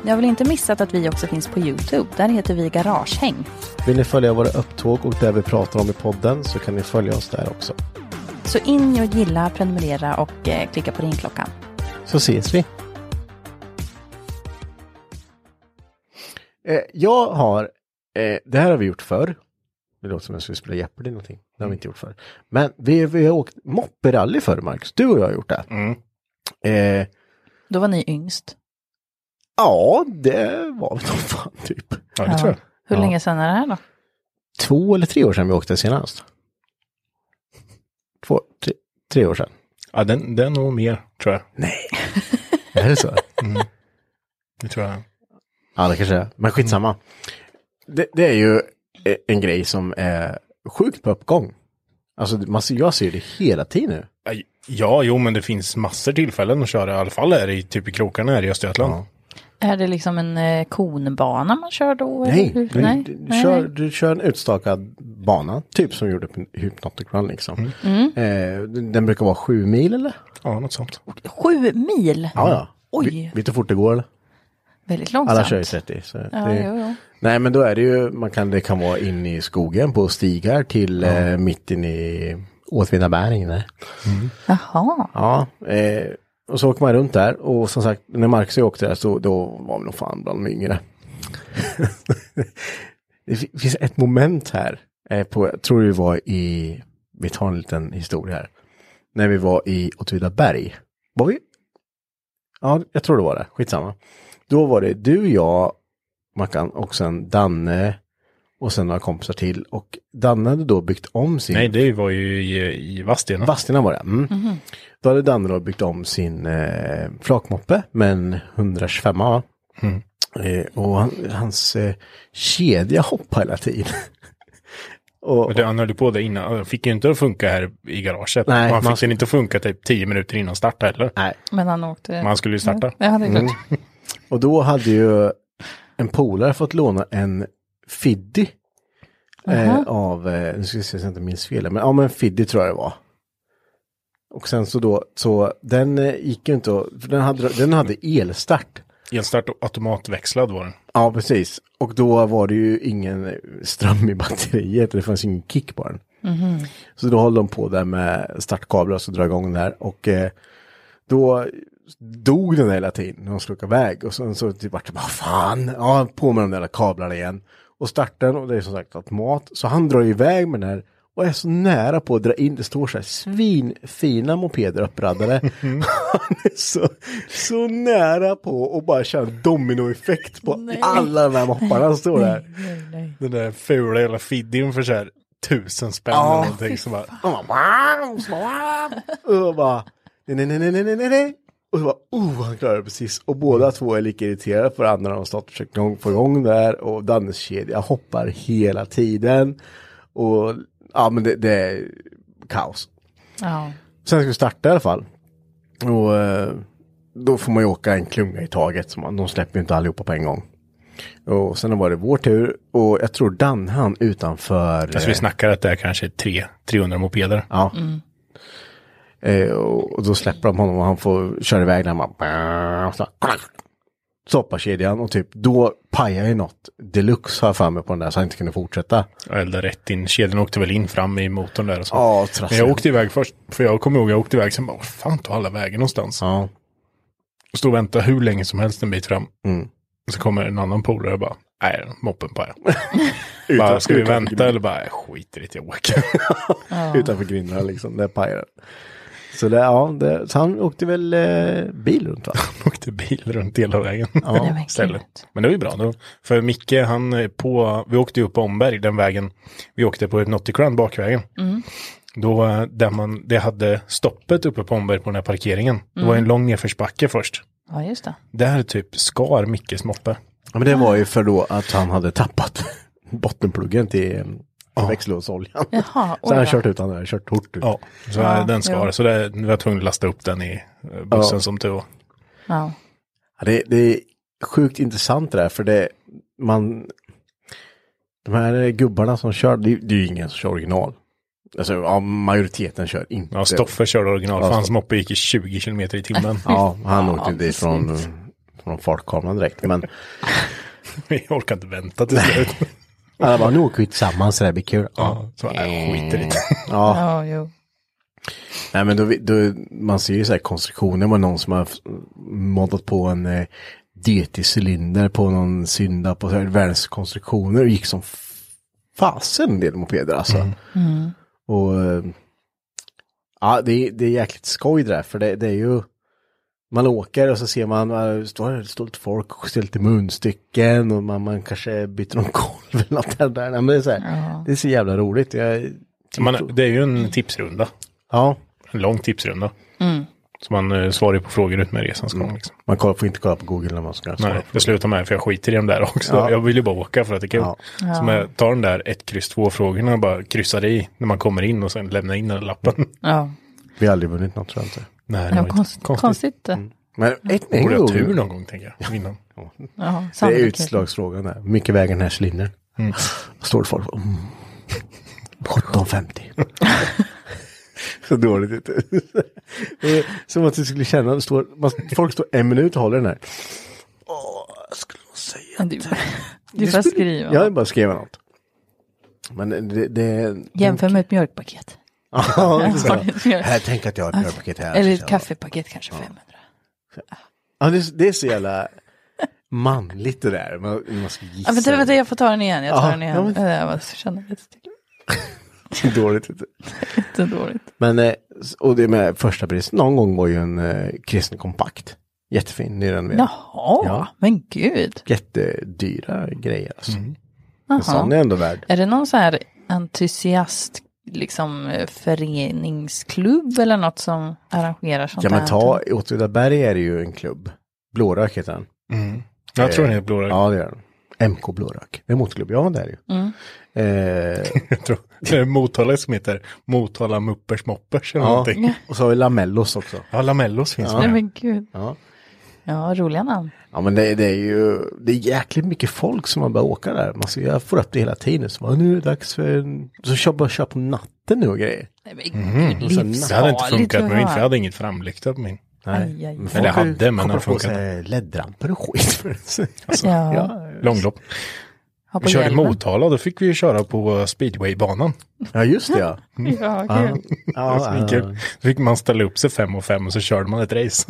Jag vill inte missat att vi också finns på Youtube. Där heter vi Garagehäng.
Vill ni följa våra upptåg och det vi pratar om i podden så kan ni följa oss där också.
Så in och gilla, prenumerera och eh, klicka på ringklockan.
Så ses vi. Eh, jag har, eh, det här har vi gjort förr. Det låter som att jag skulle spela Jeopardy eller någonting. Det har vi inte gjort förr. Men vi, vi har åkt mopperally förr, Marcus. Du och jag har gjort det.
Mm.
Eh,
Då var ni yngst.
ja, det var väl nog fan typ
Ja, det tror jag.
Hur
Ja.
länge sedan är det här då?
två eller tre år sedan vi åkte senast. Två, tre, tre år sedan.
Ja, den, den och mer, tror jag. Mm.
Nej. är det så?
Det tror jag.
Ja, det kanske är. Men skitsamma. Det, det är ju eh, en grej som är sjukt på uppgång. Alltså, man ser, jag ser det hela tiden nu.
Aj, Ja, jo, men det finns massor tillfällen att köra. I alla fall är det i- typ i krokarna här i Östergötland.
Är det liksom en eh, konbana man kör då? eller
Nej,
hur?
du,
nej,
du,
nej,
kör,
nej.
du kör en utstakad bana, typ som vi gjorde på Hypnotic Run liksom.
Mm.
Eh, den den brukar vara sju mil eller?
Mm. Ja, något sånt.
Sju mil?
Ja, ja.
Oj.
Vi- Vet du hur fort det går eller?
Väldigt
Alla
långsamt.
kör ju 30. Så
Ja,
det,
jo, jo.
Nej, men då är det ju, man kan, det kan vara in i skogen på stigar till eh, mitten i Åtvidaberg. nej.
Jaha.
Ja, eh, och så åker man runt där och som sagt när Marcus och jag åkte där så då var vi nog fan bland de yngre. det fi- finns ett moment här, eh, på, jag tror det var i, vi tar en liten historia här, när vi var i Åtvidaberg. Var vi? Ja, jag tror det var det, skitsamma. Då var det du, jag, Mackan och sen Danne och sen några kompisar till och Danne hade då byggt om sin
Nej, det var ju i, i Vadstena.
Vadstena var det. Mm. Då hade Danne då byggt om sin eh, flakmoppe med en 125 va?
Mm.
Eh, och han, hans eh, kedja hoppade hela tiden. och,
Och det, han höll ju på det innan. Han fick ju inte att funka här i garaget.
Nej,
och han
man-
fick den inte att funka typ tio minuter innan starta heller.
nej,
Men han åkte...
Men han skulle ju starta.
Ja, det är klart.
och då hade ju en polare fått låna en Fiddy. Eh, av, eh, nu ska vi se så jag inte minns fel, men ja men Fiddy tror jag det var. Och sen så då, så den eh, gick ju inte att, för den hade, den hade elstart.
Elstart och automatväxlad var den.
Ja, precis. Och då var det ju ingen ström i batteriet, det fanns ingen kick på den. Så då höll de på där med startkablar och så dra igång där. Och eh, då dog den där hela tiden när de skulle åka iväg. Och sen så typ vart det bara fan, ja, på med de där kablarna igen. Och startar den och det är som sagt automat. Så han drar ju iväg med den här och är så nära på att dra in, det står så här svinfina mopeder uppradade. Han är så, så nära på och bara köra en dominoeffekt på alla de här mopparna som står där.
Den där fula jävla fiddin för så här tusen spänn eller någonting. Så bara,
Och man bara, och så bara, och bara, nej, nej, nej, nej, nej, nej, nej. Och så bara, oh, han klarade det precis. Och båda två är lika irriterade på varandra. De har stått och försökt gång på gång där. Och Dannes kedja hoppar hela tiden. Och ja, men det, det är kaos.
Ja.
Sen ska vi starta i alla fall. Och eh, då får man ju åka en klunga i taget. Så man, de släpper ju inte allihopa på en gång. Och sen var det vår tur. Och jag tror Dan han utanför...
alltså vi
eh,
snackar att det är kanske tre, 300 mopeder.
Ja. Eh, och och då släpper de honom och han får köra iväg när man bara... Så, här, så hoppar kedjan och typ då pajar ju något deluxe har jag för mig på den där så han inte kunde fortsätta.
Jag eldade rätt in, kedjan åkte väl in fram i motorn där och så.
Ja,
Men
trassligt.
jag åkte iväg först, för jag kommer ihåg jag åkte iväg sen bara, "Vad fan tog alla vägen någonstans?
Ja.
Och stod och väntade hur länge som helst en bit fram.
Mm.
Och så kommer en annan polare och bara, nej, moppen på jag. bara, ska vi
utan-
vänta eller bara, "Jag skiter i det, jag åker.
Utanför grindarna liksom, där pajar den. Så, det, ja, det, så han åkte väl eh, bil runt va?
Han åkte bil runt hela vägen.
Nej, men
Istället.
gud.
Men det var ju bra då. För Micke, han är på, vi åkte ju upp på Omberg, den vägen. Vi åkte på Nauticrun, bakvägen. Då, eh, där man, det hade stoppet uppe på Omberg på den här parkeringen. Det var ju en lång nedförsbacke först.
ja, just det.
Där typ skar Mickes moppe.
Ja, men det var ju för då att han hade tappat bottenpluggen till eh, växellådsoljan.
Jaha,
Så han
oj
har
då.
kört ut den där, kört hårt ut.
Ja, så eh, den skar.
jo.
Så där, vi var tvungna att lasta upp den i eh, bussen
Ja.
som tur var.
Ja.
Ja, det, det är sjukt intressant det där, för det, man, de här gubbarna som kör, det, det är ju ingen som kör original. Alltså, ja, majoriteten kör inte.
Ja, Stoffe körde original, för
Ja,
hans
Stoffe.
moppe gick i 20 kilometer i timmen.
Ja, han åkte dit från, från fartkameran direkt. Men
Vi orkade inte vänta till slut.
alla bara, nu åker vi tillsammans, så det här blir kul. Eh. Ja.
Ja, så bara, "Jag skiter i det.
ja.
Ja, jo.
Nej, men då, vi- då, man ser ju så här konstruktioner med någon som har f- moddat på en eh, DT-cylinder på någon synda på så här världens konstruktioner och gick som f- fasen en del mopeder alltså.
Mm.
Och eh, ja, det, är- det är jäkligt skoj det där, för det, det är ju man åker och så ser man, eh, står det står lite folk och ställer lite munstycken och man, man kanske byter någon kolv eller något där. Nej, men det, är så här, det är så jävla roligt. Jag,
Man, det är ju en tipsrunda.
ja,
En lång tipsrunda. Så man eh, svarar ju på frågor ut med resans gång. Liksom.
Mm. man kollar, får inte kolla på Google när man ska svara
Nej, det slutar med för jag skiter i dem där också.
Ja.
Jag vill ju bara åka för att det är kul.
Ja.
Så man tar den där 1, kryss 2 frågorna och bara kryssar i när man kommer in och sen lämnar in den lappen.
Ja.
Vi har aldrig vunnit något tror jag inte.
Nej, det
Ja,
var
konstigt.
inte
konstigt. det.
Men ett en
Borde
gång-
jag ha tur någon gång tänker jag. Innan.
Ja,
Det är
sannolikt.
utslagsfrågan där. Hur mycket väger den här cylindern? Står det folk och, mm, 1750. Så dåligt ut. Det är Som att du skulle känna, det står, man, folk står en minut och håller den här. Åh, jag skulle nog säga.
Ja, Du, du får skriva.
Jag vill bara skriva något. Men det, det
Jämför med ett mjölkpaket.
Ja, så.
Eller-
här, tänk att jag har ett mjölkpaket här.
Eller
Så-
ett kaffepaket kanske, 500.
Ja, det, är så- det är så jävla manligt det där. Man, man ska gissa.
Ja, vänta, vänta, jag får ta den igen. Jag tar
Ja,
den igen.
ja, men-
Eh, Jag bara känner mig
Så dåligt. vet du.
jättedåligt.
Men, eh, s- och det med första pris, någon gång var ju en eh, kristen kompakt. Jättefin, nyrenoverad.
Jaha,
Ja.
men gud.
Jättedyra grejer alltså.
Mm.
Men sån är
Jaha.
ändå värd.
Är det någon så här entusiast, liksom eh, föreningsklubb eller något som arrangerar sånt
Ja men
här?
ta, i Åtvidaberg är det ju en klubb. Blårök heter den.
Mm. Jag tror den är blå.
Ja det är den. MK Blårök. Det är en motorklubb, ja det är det ju. Eh,
Jag tror. Det är en Motala som heter Motala Muppers Moppers eller
ja.
någonting.
Och så har vi Lamellos också.
Ja, Lamellos finns
Nej
med.
men gud.
Ja.
Ja, roliga namn.
Ja men det, det är ju, det är jäkligt mycket folk som man börjar åka där. Man ser, jag får upp det hela tiden. Så bara, nu är det dags för, en- så kör bara köra på natten nu och grejer.
Nej
Mhm.
men gud,
Och sen-
livsfarligt.
Det hade inte funkat med min, för
va?
jag hade inget framlykta på min.
Aj, aj, aj.
Eller hade, men den funkar inte.
funkade. LED-ramper och skit för det. Alltså,
Ja.
Långlopp.
Ha på
Vi körde
hjälmen.
Motala, då fick vi ju köra på speedwaybanan.
ja just det ja.
Ja, kul.
ja,
Svinkul. Då fick man ställa upp sig fem och fem och så körde man ett race.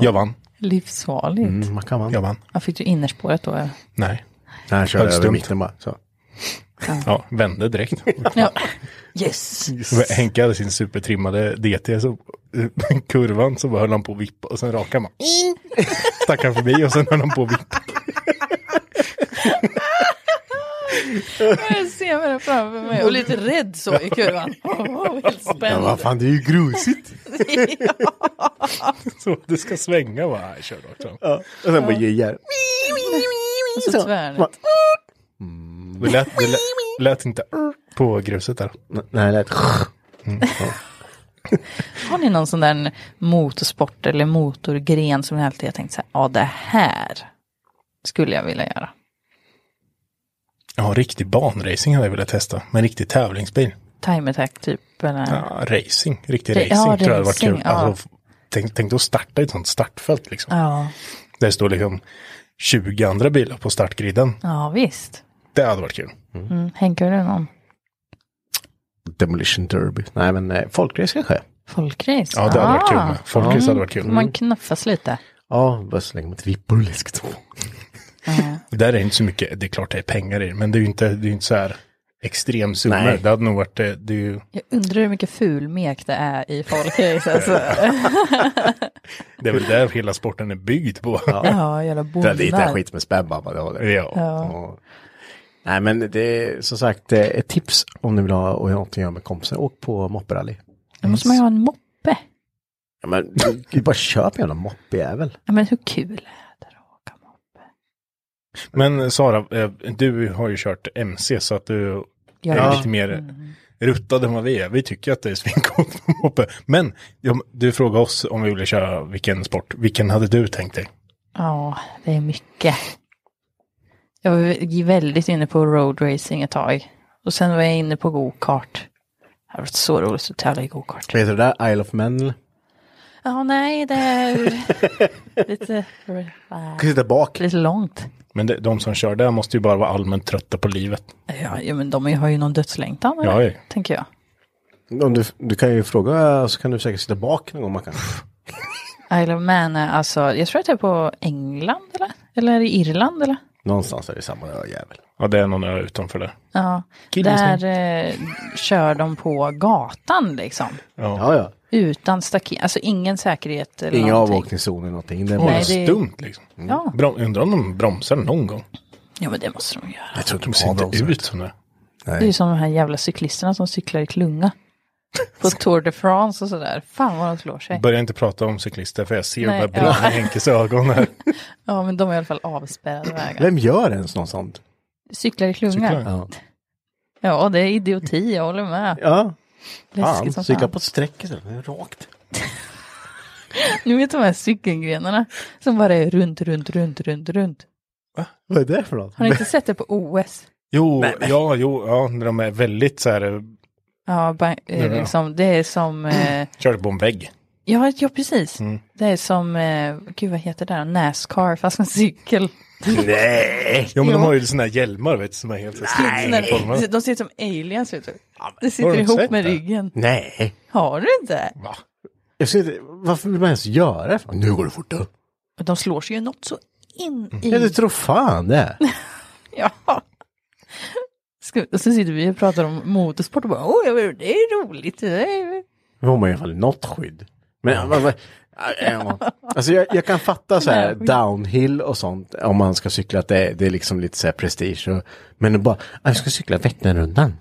Jag vann.
Livsfarligt.
Mm, man kan man.
Jag vann.
Han fick ju innerspåret då. eller?
Nej.
Nej, jag körde
Högst
över
dumt.
mitten bara. Så.
Ja, vände direkt.
Ja. Yes.
Henke hade sin supertrimmade DT, så eh, kurvan så bara höll han på att vippa och sen rakade man. Stack han förbi och sen höll han på att vippa.
Jag ser mig där framför mig och lite rädd så i kurvan. Åh, Helt
Ja,
spänd.
vad fan, det är ju grusigt.
Så det ska svänga va? Nej, Kör rakt fram.
ja. Och sen bara gejar.
Och så tvärnit.
Mm, Det lät, det lät, lät inte på gruset där. Mm.
Nej, det lät...
Har ni någon sån där motorsport eller motorgren som ni alltid har tänkt så här, ja det här skulle jag vilja göra.
Ja, riktig banracing hade jag velat testa. Men riktig tävlingsbil.
Time attack typ eller?
Ja, racing. Riktig
Ja,
racing tror jag hade varit
racing,
kul.
ja.
Alltså, tänk, tänk att starta i ett sånt startfält liksom.
Ja,
Där det står liksom 20 andra bilar på startgriden.
ja visst.
Det hade varit kul.
Mm. Henke, har du någon?
Demolition Derby. Nej, men eh, folkrace kanske.
Folkrace?
Ja, det hade varit kul
Ah.
med. Folkrace hade varit kul.
Man knuffas lite.
Ja, bara så länge man inte vippar och läskigt.
Där är det inte så mycket, det är klart det är pengar i det, men det är ju inte, det är ju inte så här extremsummor.
Nej.
Det hade nog varit, eh, det är ju,
Jag undrar hur mycket fulmek det är i folkrace. Alltså.
det är väl där hela sporten är byggd på.
ja, jävla
Det är lite
bondar.
skit med spännbabba, det håller.
ja.
Ja. Nej, men det är som sagt eh, ett tips om ni vill ha och någonting att göra med kompisar. Åk på mopperally.
Då måste man ju ha en moppe.
Ja, men du bara köp en jävla moppejävel.
Ja, men hur kul är det att åka moppe?
Men Sara, eh, du har ju kört MC så att du
Jag
är
är-
lite mer ruttad än vad vi är. Vi tycker att det är svincoolt på moppe. Men ja, du frågade oss om vi ville köra vilken sport, vilken hade du tänkt dig?
Ja, det är mycket. Jag var väldigt inne på road racing ett tag. Och sen var jag inne på go-kart. Det hade varit så roligt att tävla i go-kart.
Vad heter det där? Isle of Man? eller?
Ja, nej, det är lite,
Du kan sitta bak.
lite långt.
Men det, de som kör där måste ju bara vara allmänt trötta på livet.
Ja, ja, men de har ju någon dödslängtan, eller?
Ja, ja.
tänker jag.
Om du, du kan ju fråga så kan du säkert sitta bak någon gång man kan.
Isle of Man är alltså, jag tror att det är på England eller? Eller i Irland eller?
Någonstans är det samma ö, jävel.
Ja, det är någon ö utanför det.
Ja, där eh, kör de på gatan liksom.
Ja, ja.
Utan staket, alltså ingen säkerhet eller
Inga
någonting.
avåkningszoner eller någonting. Det är
Och
bara...
Nej, det-
stumt liksom.
Ja.
Brom, undrar om de bromsar någon gång.
Ja, men det måste de göra.
Jag tror inte
De
de
ser
har
inte
bromsar.
ut som det.
Det är ju som de här jävla cyklisterna som cyklar i klunga. På Tour de France och sådär. Fan vad de slår sig.
Börja inte prata om cyklister för jag ser de
Nej,
här
ja.
brinna i Henkes ögon här.
Ja, men de är i alla fall avspärrade vägar.
Vem gör ens något sånt?
Cyklar i klunga.
Cyklar.
Ja.
Ja, det är idioti, jag håller med.
ja.
Läskigt som
cykla
fan.
på ett streck istället. Rakt.
Nu vet de här cykelgrenarna som bara är runt, runt, runt, runt, runt.
Vad är det för något?
Har ni inte sett det på OS?
Jo, ja, jo, ja, när de är väldigt så här, eh,
Ja, ba- eh,
ja.
liksom, det är som... Eh,
körde på en vägg.
ja, ja, precis. Det är som... Eh, gud, vad heter det? där? Nascar, fast en cykel.
Nej!
Ja, men de
Jo.
har ju sådana här hjälmar vet du, som är helt så här
Nej.
stilformade.
De ser ut som aliens, vet du. Det
har
sitter
du inte
ihop
sett
med
det?
ryggen.
Nej.
Har du inte?
Va?
Jag ser inte, varför vill man ens göra det? Nu går det fortare.
De slår sig ju något så in i...
Ja, du tror fan det.
Ja. Ska, och så sitter vi och pratar om motorsport och bara, åh, ja, det är roligt. Det är...
Då har man i alla fall något skydd. Men, men, men ja. alltså jag, jag kan fatta så här downhill och sånt om man ska cykla att det, är- det är liksom lite så här prestige. Och, men att bara, "Ah, jag ska cykla Vätternrundan.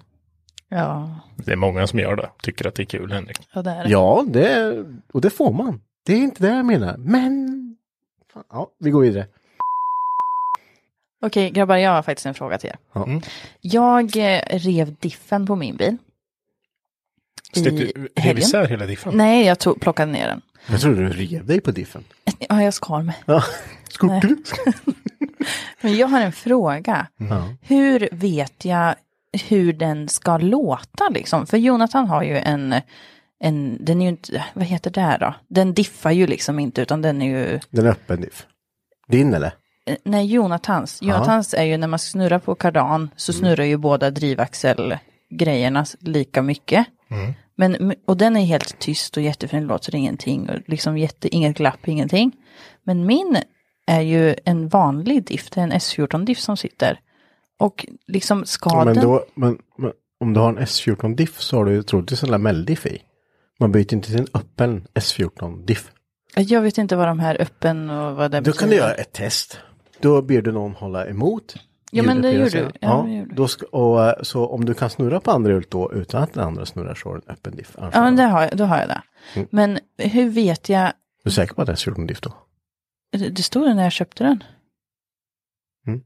Ja,
Det är många som gör det, tycker att det är kul Henrik.
ja, det är det.
Ja, det, och det får man. Det är inte det jag menar. Men, fan, ja, vi går vidare.
Okej, grabbar, jag har faktiskt en fråga till er.
Ja.
Mm.
Jag eh, rev diffen på min bil. I
Stötte
helgen?
isär hela diffen.
Nej, jag tog, plockade ner den.
Jag trodde du rev dig på diffen.
Ja, jag skar mig.
Ja. Skulle du?
Men jag har en fråga. Hur vet jag hur den ska låta liksom? För Jonathan har ju en, en den är ju inte, vad heter det här då? Den diffar ju liksom inte utan den är ju,
Den är öppen diff. Din eller?
eh, nej Jonathans. Jonathans är ju när man snurrar
Mm. Mm.
på kardan så snurrar ju båda drivaxelgrejerna lika mycket. Men, och den är helt tyst och jättefin, låter ingenting och liksom jätte, inget glapp, ingenting. Men min är ju en vanlig diff, det är en S14-diff som sitter. Och liksom ska
men,
den...
då, men, men om du har en S14-diff så har du ju troligtvis en lamelldiff i. Man byter inte till en öppen S14-diff.
Jag vet inte vad de här öppen och vad det
Då kan du göra ett test. Då ber du någon hålla emot.
Ja, men det
ljudupplevelsen.
gör du. Ja,
Ja,
det gör du.
då ska, och, eh, så om du kan snurra på andra ut då utan att den andra snurrar så har du en öppen diff. Annars
Ja,
har
men
du-
det har jag, då har jag det.
Mm.
Men hur vet jag?
Du är säker på att det är en S14-diff då?
Det det stod det när jag köpte den.
Mm.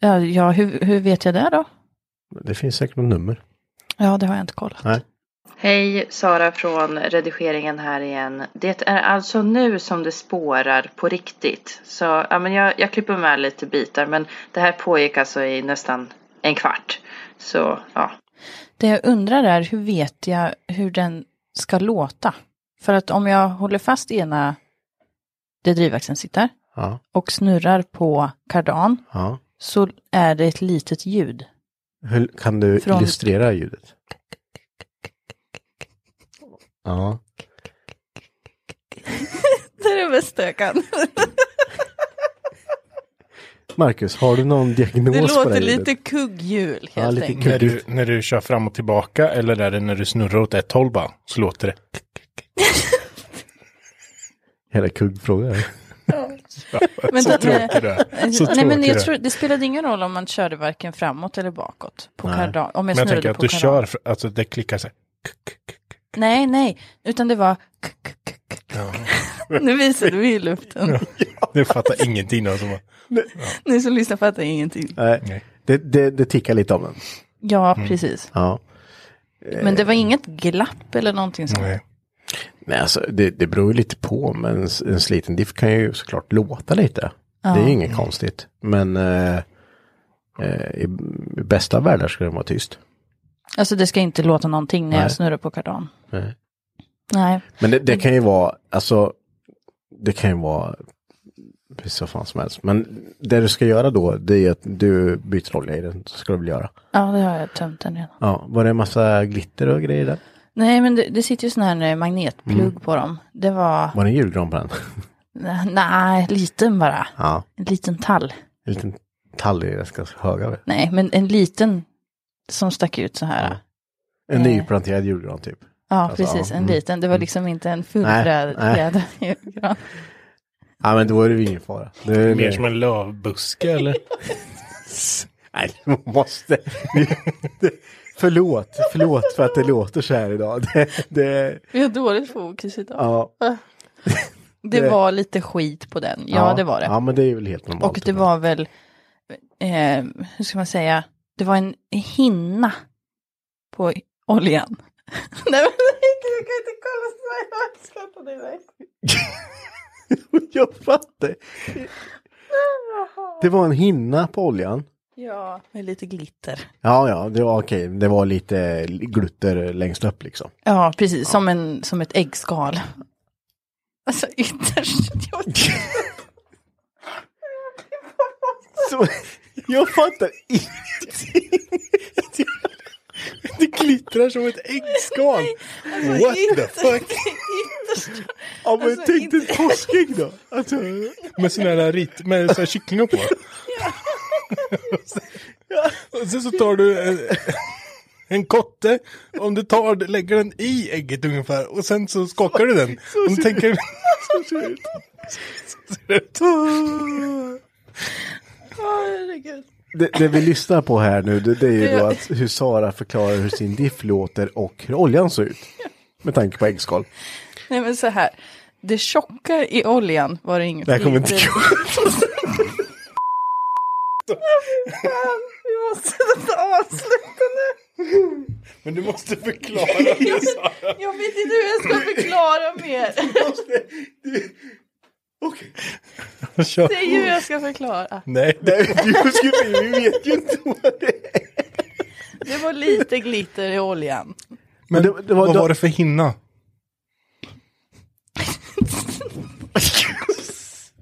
Ja, ja hur, hur vet jag det då?
Det finns säkert något nummer.
Ja, det har jag inte kollat.
Nej.
Hej Sara från redigeringen här igen. Det är alltså nu som det spårar på riktigt. Så ja, men jag, jag klipper med lite bitar men det här pågick alltså i nästan en kvart. Så ja.
Det jag undrar är hur vet jag hur den ska låta? För att om jag håller fast ena där drivväxeln sitter
Ja,
och snurrar på kardan
ja.
så är det ett litet ljud.
Hur, kan du
Från-
illustrera ljudet? Ja.
Det är mest jag kan.
Marcus, har du någon diagnos
Det
på det
låter
här ljudet?
lite kugghjul
Ja,
helt
lite
enkelt.
När du, när du kör fram och tillbaka eller är det när du snurrar åt ett håll bara, så låter det.
Hela kuggfrågan.
Men
så
den-
tråkig du är. Så
Nej,
tråkig
men
du är.
jag tror, det spelade ingen roll om man körde varken framåt eller bakåt på
Nej.
kardan. Om jag
Men jag
snurrade
tänker att
på
du
kardan.
kör, för, alltså det klickar sig.
Nej, nej, utan det var... k- k- k- k- nu visade vi i luften.
Du fattar ingenting. Alltså.
Ni som lyssnar fattar ingenting.
Nej, Mm. det, det, det tickar lite om den.
Ja, precis.
Ja. Eh.
Men det var inget glapp eller någonting sånt.
Nej.
Nej, alltså det, det beror ju lite på, men s- en sliten diff kan ju såklart låta lite. Det är ju inget konstigt. Men eh, eh, i, i bästa världar skulle den vara tyst.
Alltså det ska inte låta någonting när
Nej.
jag snurrar på kardan.
Nej.
Nej,
Men det, det kan ju vara, alltså, det kan ju vara precis vad fan som helst. Men det du ska göra då, det är att du byter olja i den, så ska du väl göra.
ja det har jag tömt den redan.
Ja, var det en massa glitter och grejer där?
Nej, men det, det sitter ju sån här eh, magnetplugg
Mm.
på dem. Det var,
Var det en julgran på den?
nej, liten bara.
Ja,
En liten tall.
en liten tall i den ganska höga. väl?
Nej, men en liten som stack ut så här.
Ja. En nyplanterad julgran typ.
Ja,
Alltså,
precis.
ja.
En
Mm.
liten. Det var liksom inte en
Nej,
fullfjädrad gran.
Ja, men då är det ju ingen fara. Det är
Mer som en lövbuske eller?
Nej, man måste. förlåt, förlåt för att det låter så här idag. Det, det,
Vi har dåligt fokus idag.
ja,
det,
det-
var lite skit på den. Ja, det var det.
Ja, men det är väl helt normalt.
Och det var väl, eh, hur ska man säga, det var en hinna på oljan. Nej, men du kan inte kolla så här. Jag skrattar direkt.
Jag fattar. Det var en hinna på oljan.
Ja, med lite glitter.
Ja, ja, det var okej. Det var lite glutter längst upp liksom.
Ja, precis. Som, en, som ett äggskal. Alltså ytterst. Jag vet inte
Så, jag fattar inte.
Det glittrar som ett äggskal. What the fuck?
ytterst.
Ja, men
Alltså,
tänk dig
inte-
ett påskägg då. Alltså,
Med sådana här rit, med sådana här kycklingar på. Och sen så tar du en, en kotte, om du tar, lägger den i ägget ungefär och sen så skakar du den. Om du tänker... Så ser det ut. Ah. Så ser det ut.
Åh, herregud.
det, det vi lyssnar på här nu, det, det är ju då
Ja.
att hur Sara förklarar hur sin diff låter och hur oljan såg ut. Med tanke på äggskal.
Nej men så här. Det tjocka i oljan var det inget
Det här kommer inte
glitter.
gå.
Fan, vi måste avsluta nu.
Men du måste förklara. det, Sara.
Jag vet inte hur jag ska förklara mer.
Okej.
Kör.
Det är ju hur jag ska förklara.
Nej, det-
Nej, du skulle- Vi vet ju inte vad det är.
Det var lite glitter i oljan.
men
det- det var-
vad
då-
var det för hinna?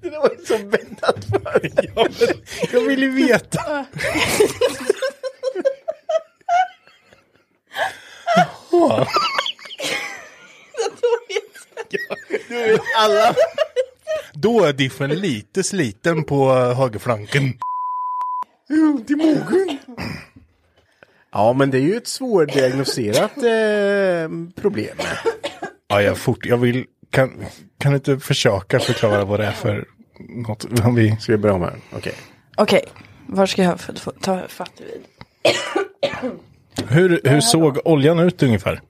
Det där var ju så väntat för.
Ja, men jag vill ju veta. Jaha.
alla...
Då är diffen lite sliten på högerflanken.
Ont i magen. Ja, men det är ju ett svårdiagnoserat eh, problem.
Ja, jag, fort, jag vill... Kan, kan du inte försöka förklara vad det är för något? Vad vi...
Ska vi börja om här? Okej.
Okej, var ska jag få- få- ta fatt vid?
Hur, hur såg oljan ut ungefär?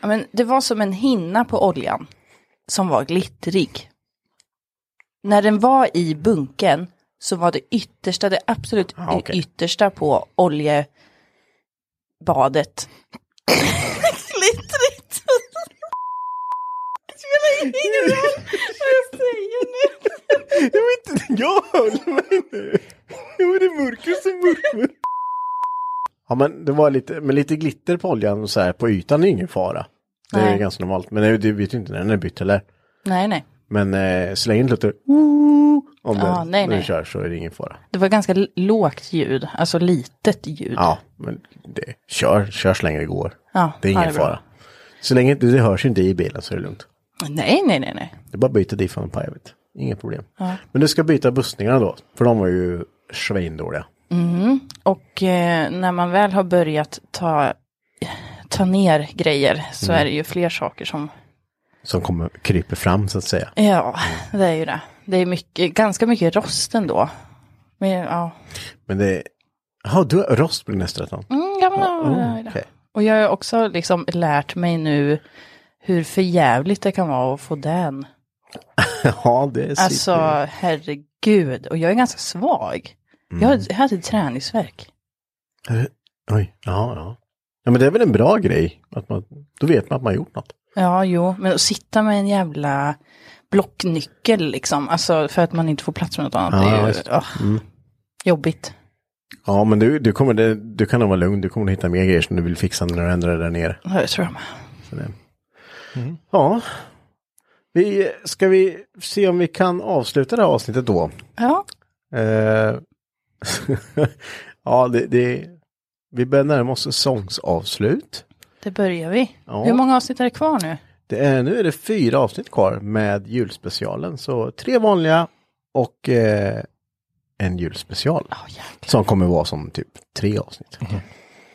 Ja, men det var som en hinna på oljan som var glittrig. När den var i bunken så var det yttersta, det absolut
Ah, okej.
yttersta på oljebadet. Glittrigt. Det spelar ingen roll vad jag säger nu.
Jag vet inte, jag höll mig nu. Det var det mörker som mörker. Ja, men det var lite, men lite glitter på oljan och så här på ytan är ingen fara. Det är
Nej.
ju ganska normalt, men det- du vet ju inte när den är bytt heller.
Nej, nej.
Men eh, så länge det inte låter "Woo", om
Ja,
den,
nej,
när du
nej.
kör så är det ingen fara.
Det var ganska l- lågt ljud, alltså litet ljud.
Ja, men det, kör, kör så länge det går.
Ja,
det är ingen
ja, det är bra.
fara. Så länge det, det hörs inte i bilen så är det lugnt.
Nej, nej, nej, nej.
Det är bara att byta dit från Pirate. Inga problem. Men du ska byta bussningarna då, för de var ju svindåliga.
Och eh, när man väl har börjat ta, ta ner grejer så är det ju fler saker som,
Som kommer, kryper fram så att säga.
ja, det är ju det. Det är mycket, ganska mycket rost ändå. Men ja,
Men det... Jaha, du har rost på din S13?
mm, ja, men, ja, ja, ja.
okej.
Och jag har också liksom lärt mig nu hur förjävligt det kan vara att få den.
Ja, det är
Alltså,
sitter-
herregud. Och jag är ganska svag. Jag, jag hade träningsvärk.
Eh, Oj, ja, ja. Ja, men det är väl en bra grej. Att man, då vet man att man har gjort något.
Ja, jo, men att sitta med en jävla blocknyckel liksom, alltså för att man inte får plats med något annat, det
Ja,
är ju
visst. Mm.
ah, jobbigt.
Ja, men du, du, kommer, det, du kan nog vara lugn. Du kommer att hitta mer grejer som du vill fixa när du ändrar dig där nere.
Ja, Det tror jag med.
Så det. Ja. Vi, ska vi se om vi kan avsluta det här avsnittet då?
Ja,
Eh, ja, det, det, vi börjar närma oss säsongsavslut.
det börjar vi.
Ja.
Hur många avsnitt är det kvar nu?
Det är, nu är det fyra avsnitt kvar med julspecialen. Så tre vanliga och eh, en julspecial. som kommer vara som typ tre avsnitt.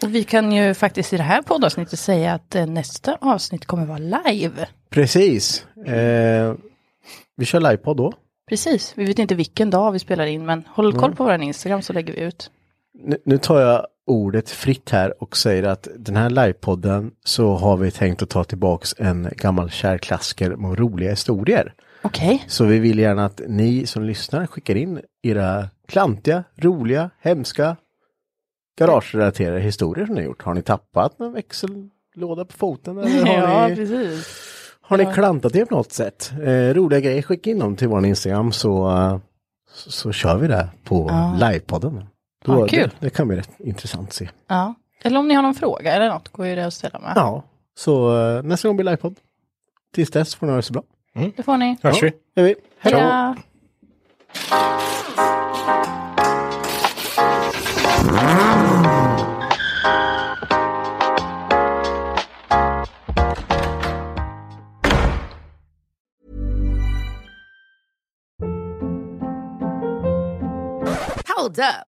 Och vi kan ju faktiskt i det här poddavsnittet säga att eh, nästa avsnitt kommer vara live.
Precis. Eh, vi kör livepodd då.
Precis, vi vet inte vilken dag vi spelar in, men håll
Mm.
koll på vår Instagram så lägger vi ut.
Nu, nu tar jag ordet fritt här och säger att den här livepodden så har vi tänkt att ta tillbaks en gammal kär klassiker med roliga historier.
Okej,
Så vi vill gärna att ni som lyssnar skickar in era klantiga, roliga, hemska garagerelaterade historier som ni har gjort. Har ni tappat en växellåda på foten? Eller har,
ja
ni,
precis.
har ni klantat er på något sätt? Eh, roliga grejer, skicka in dem till vår Instagram så, eh, så, så kör vi det på livepodden. Då,
Ja, kul.
Det, det kan bli rätt intressant att se.
Ja. Eller om ni har någon fråga eller något går ju det att ställa med.
Ja, så eh, nästa gång blir det livepodd. Tills dess får ni ha det så bra.
Det får ni.
Hörs vi?
Hej vi.
Hej då!
Hold up.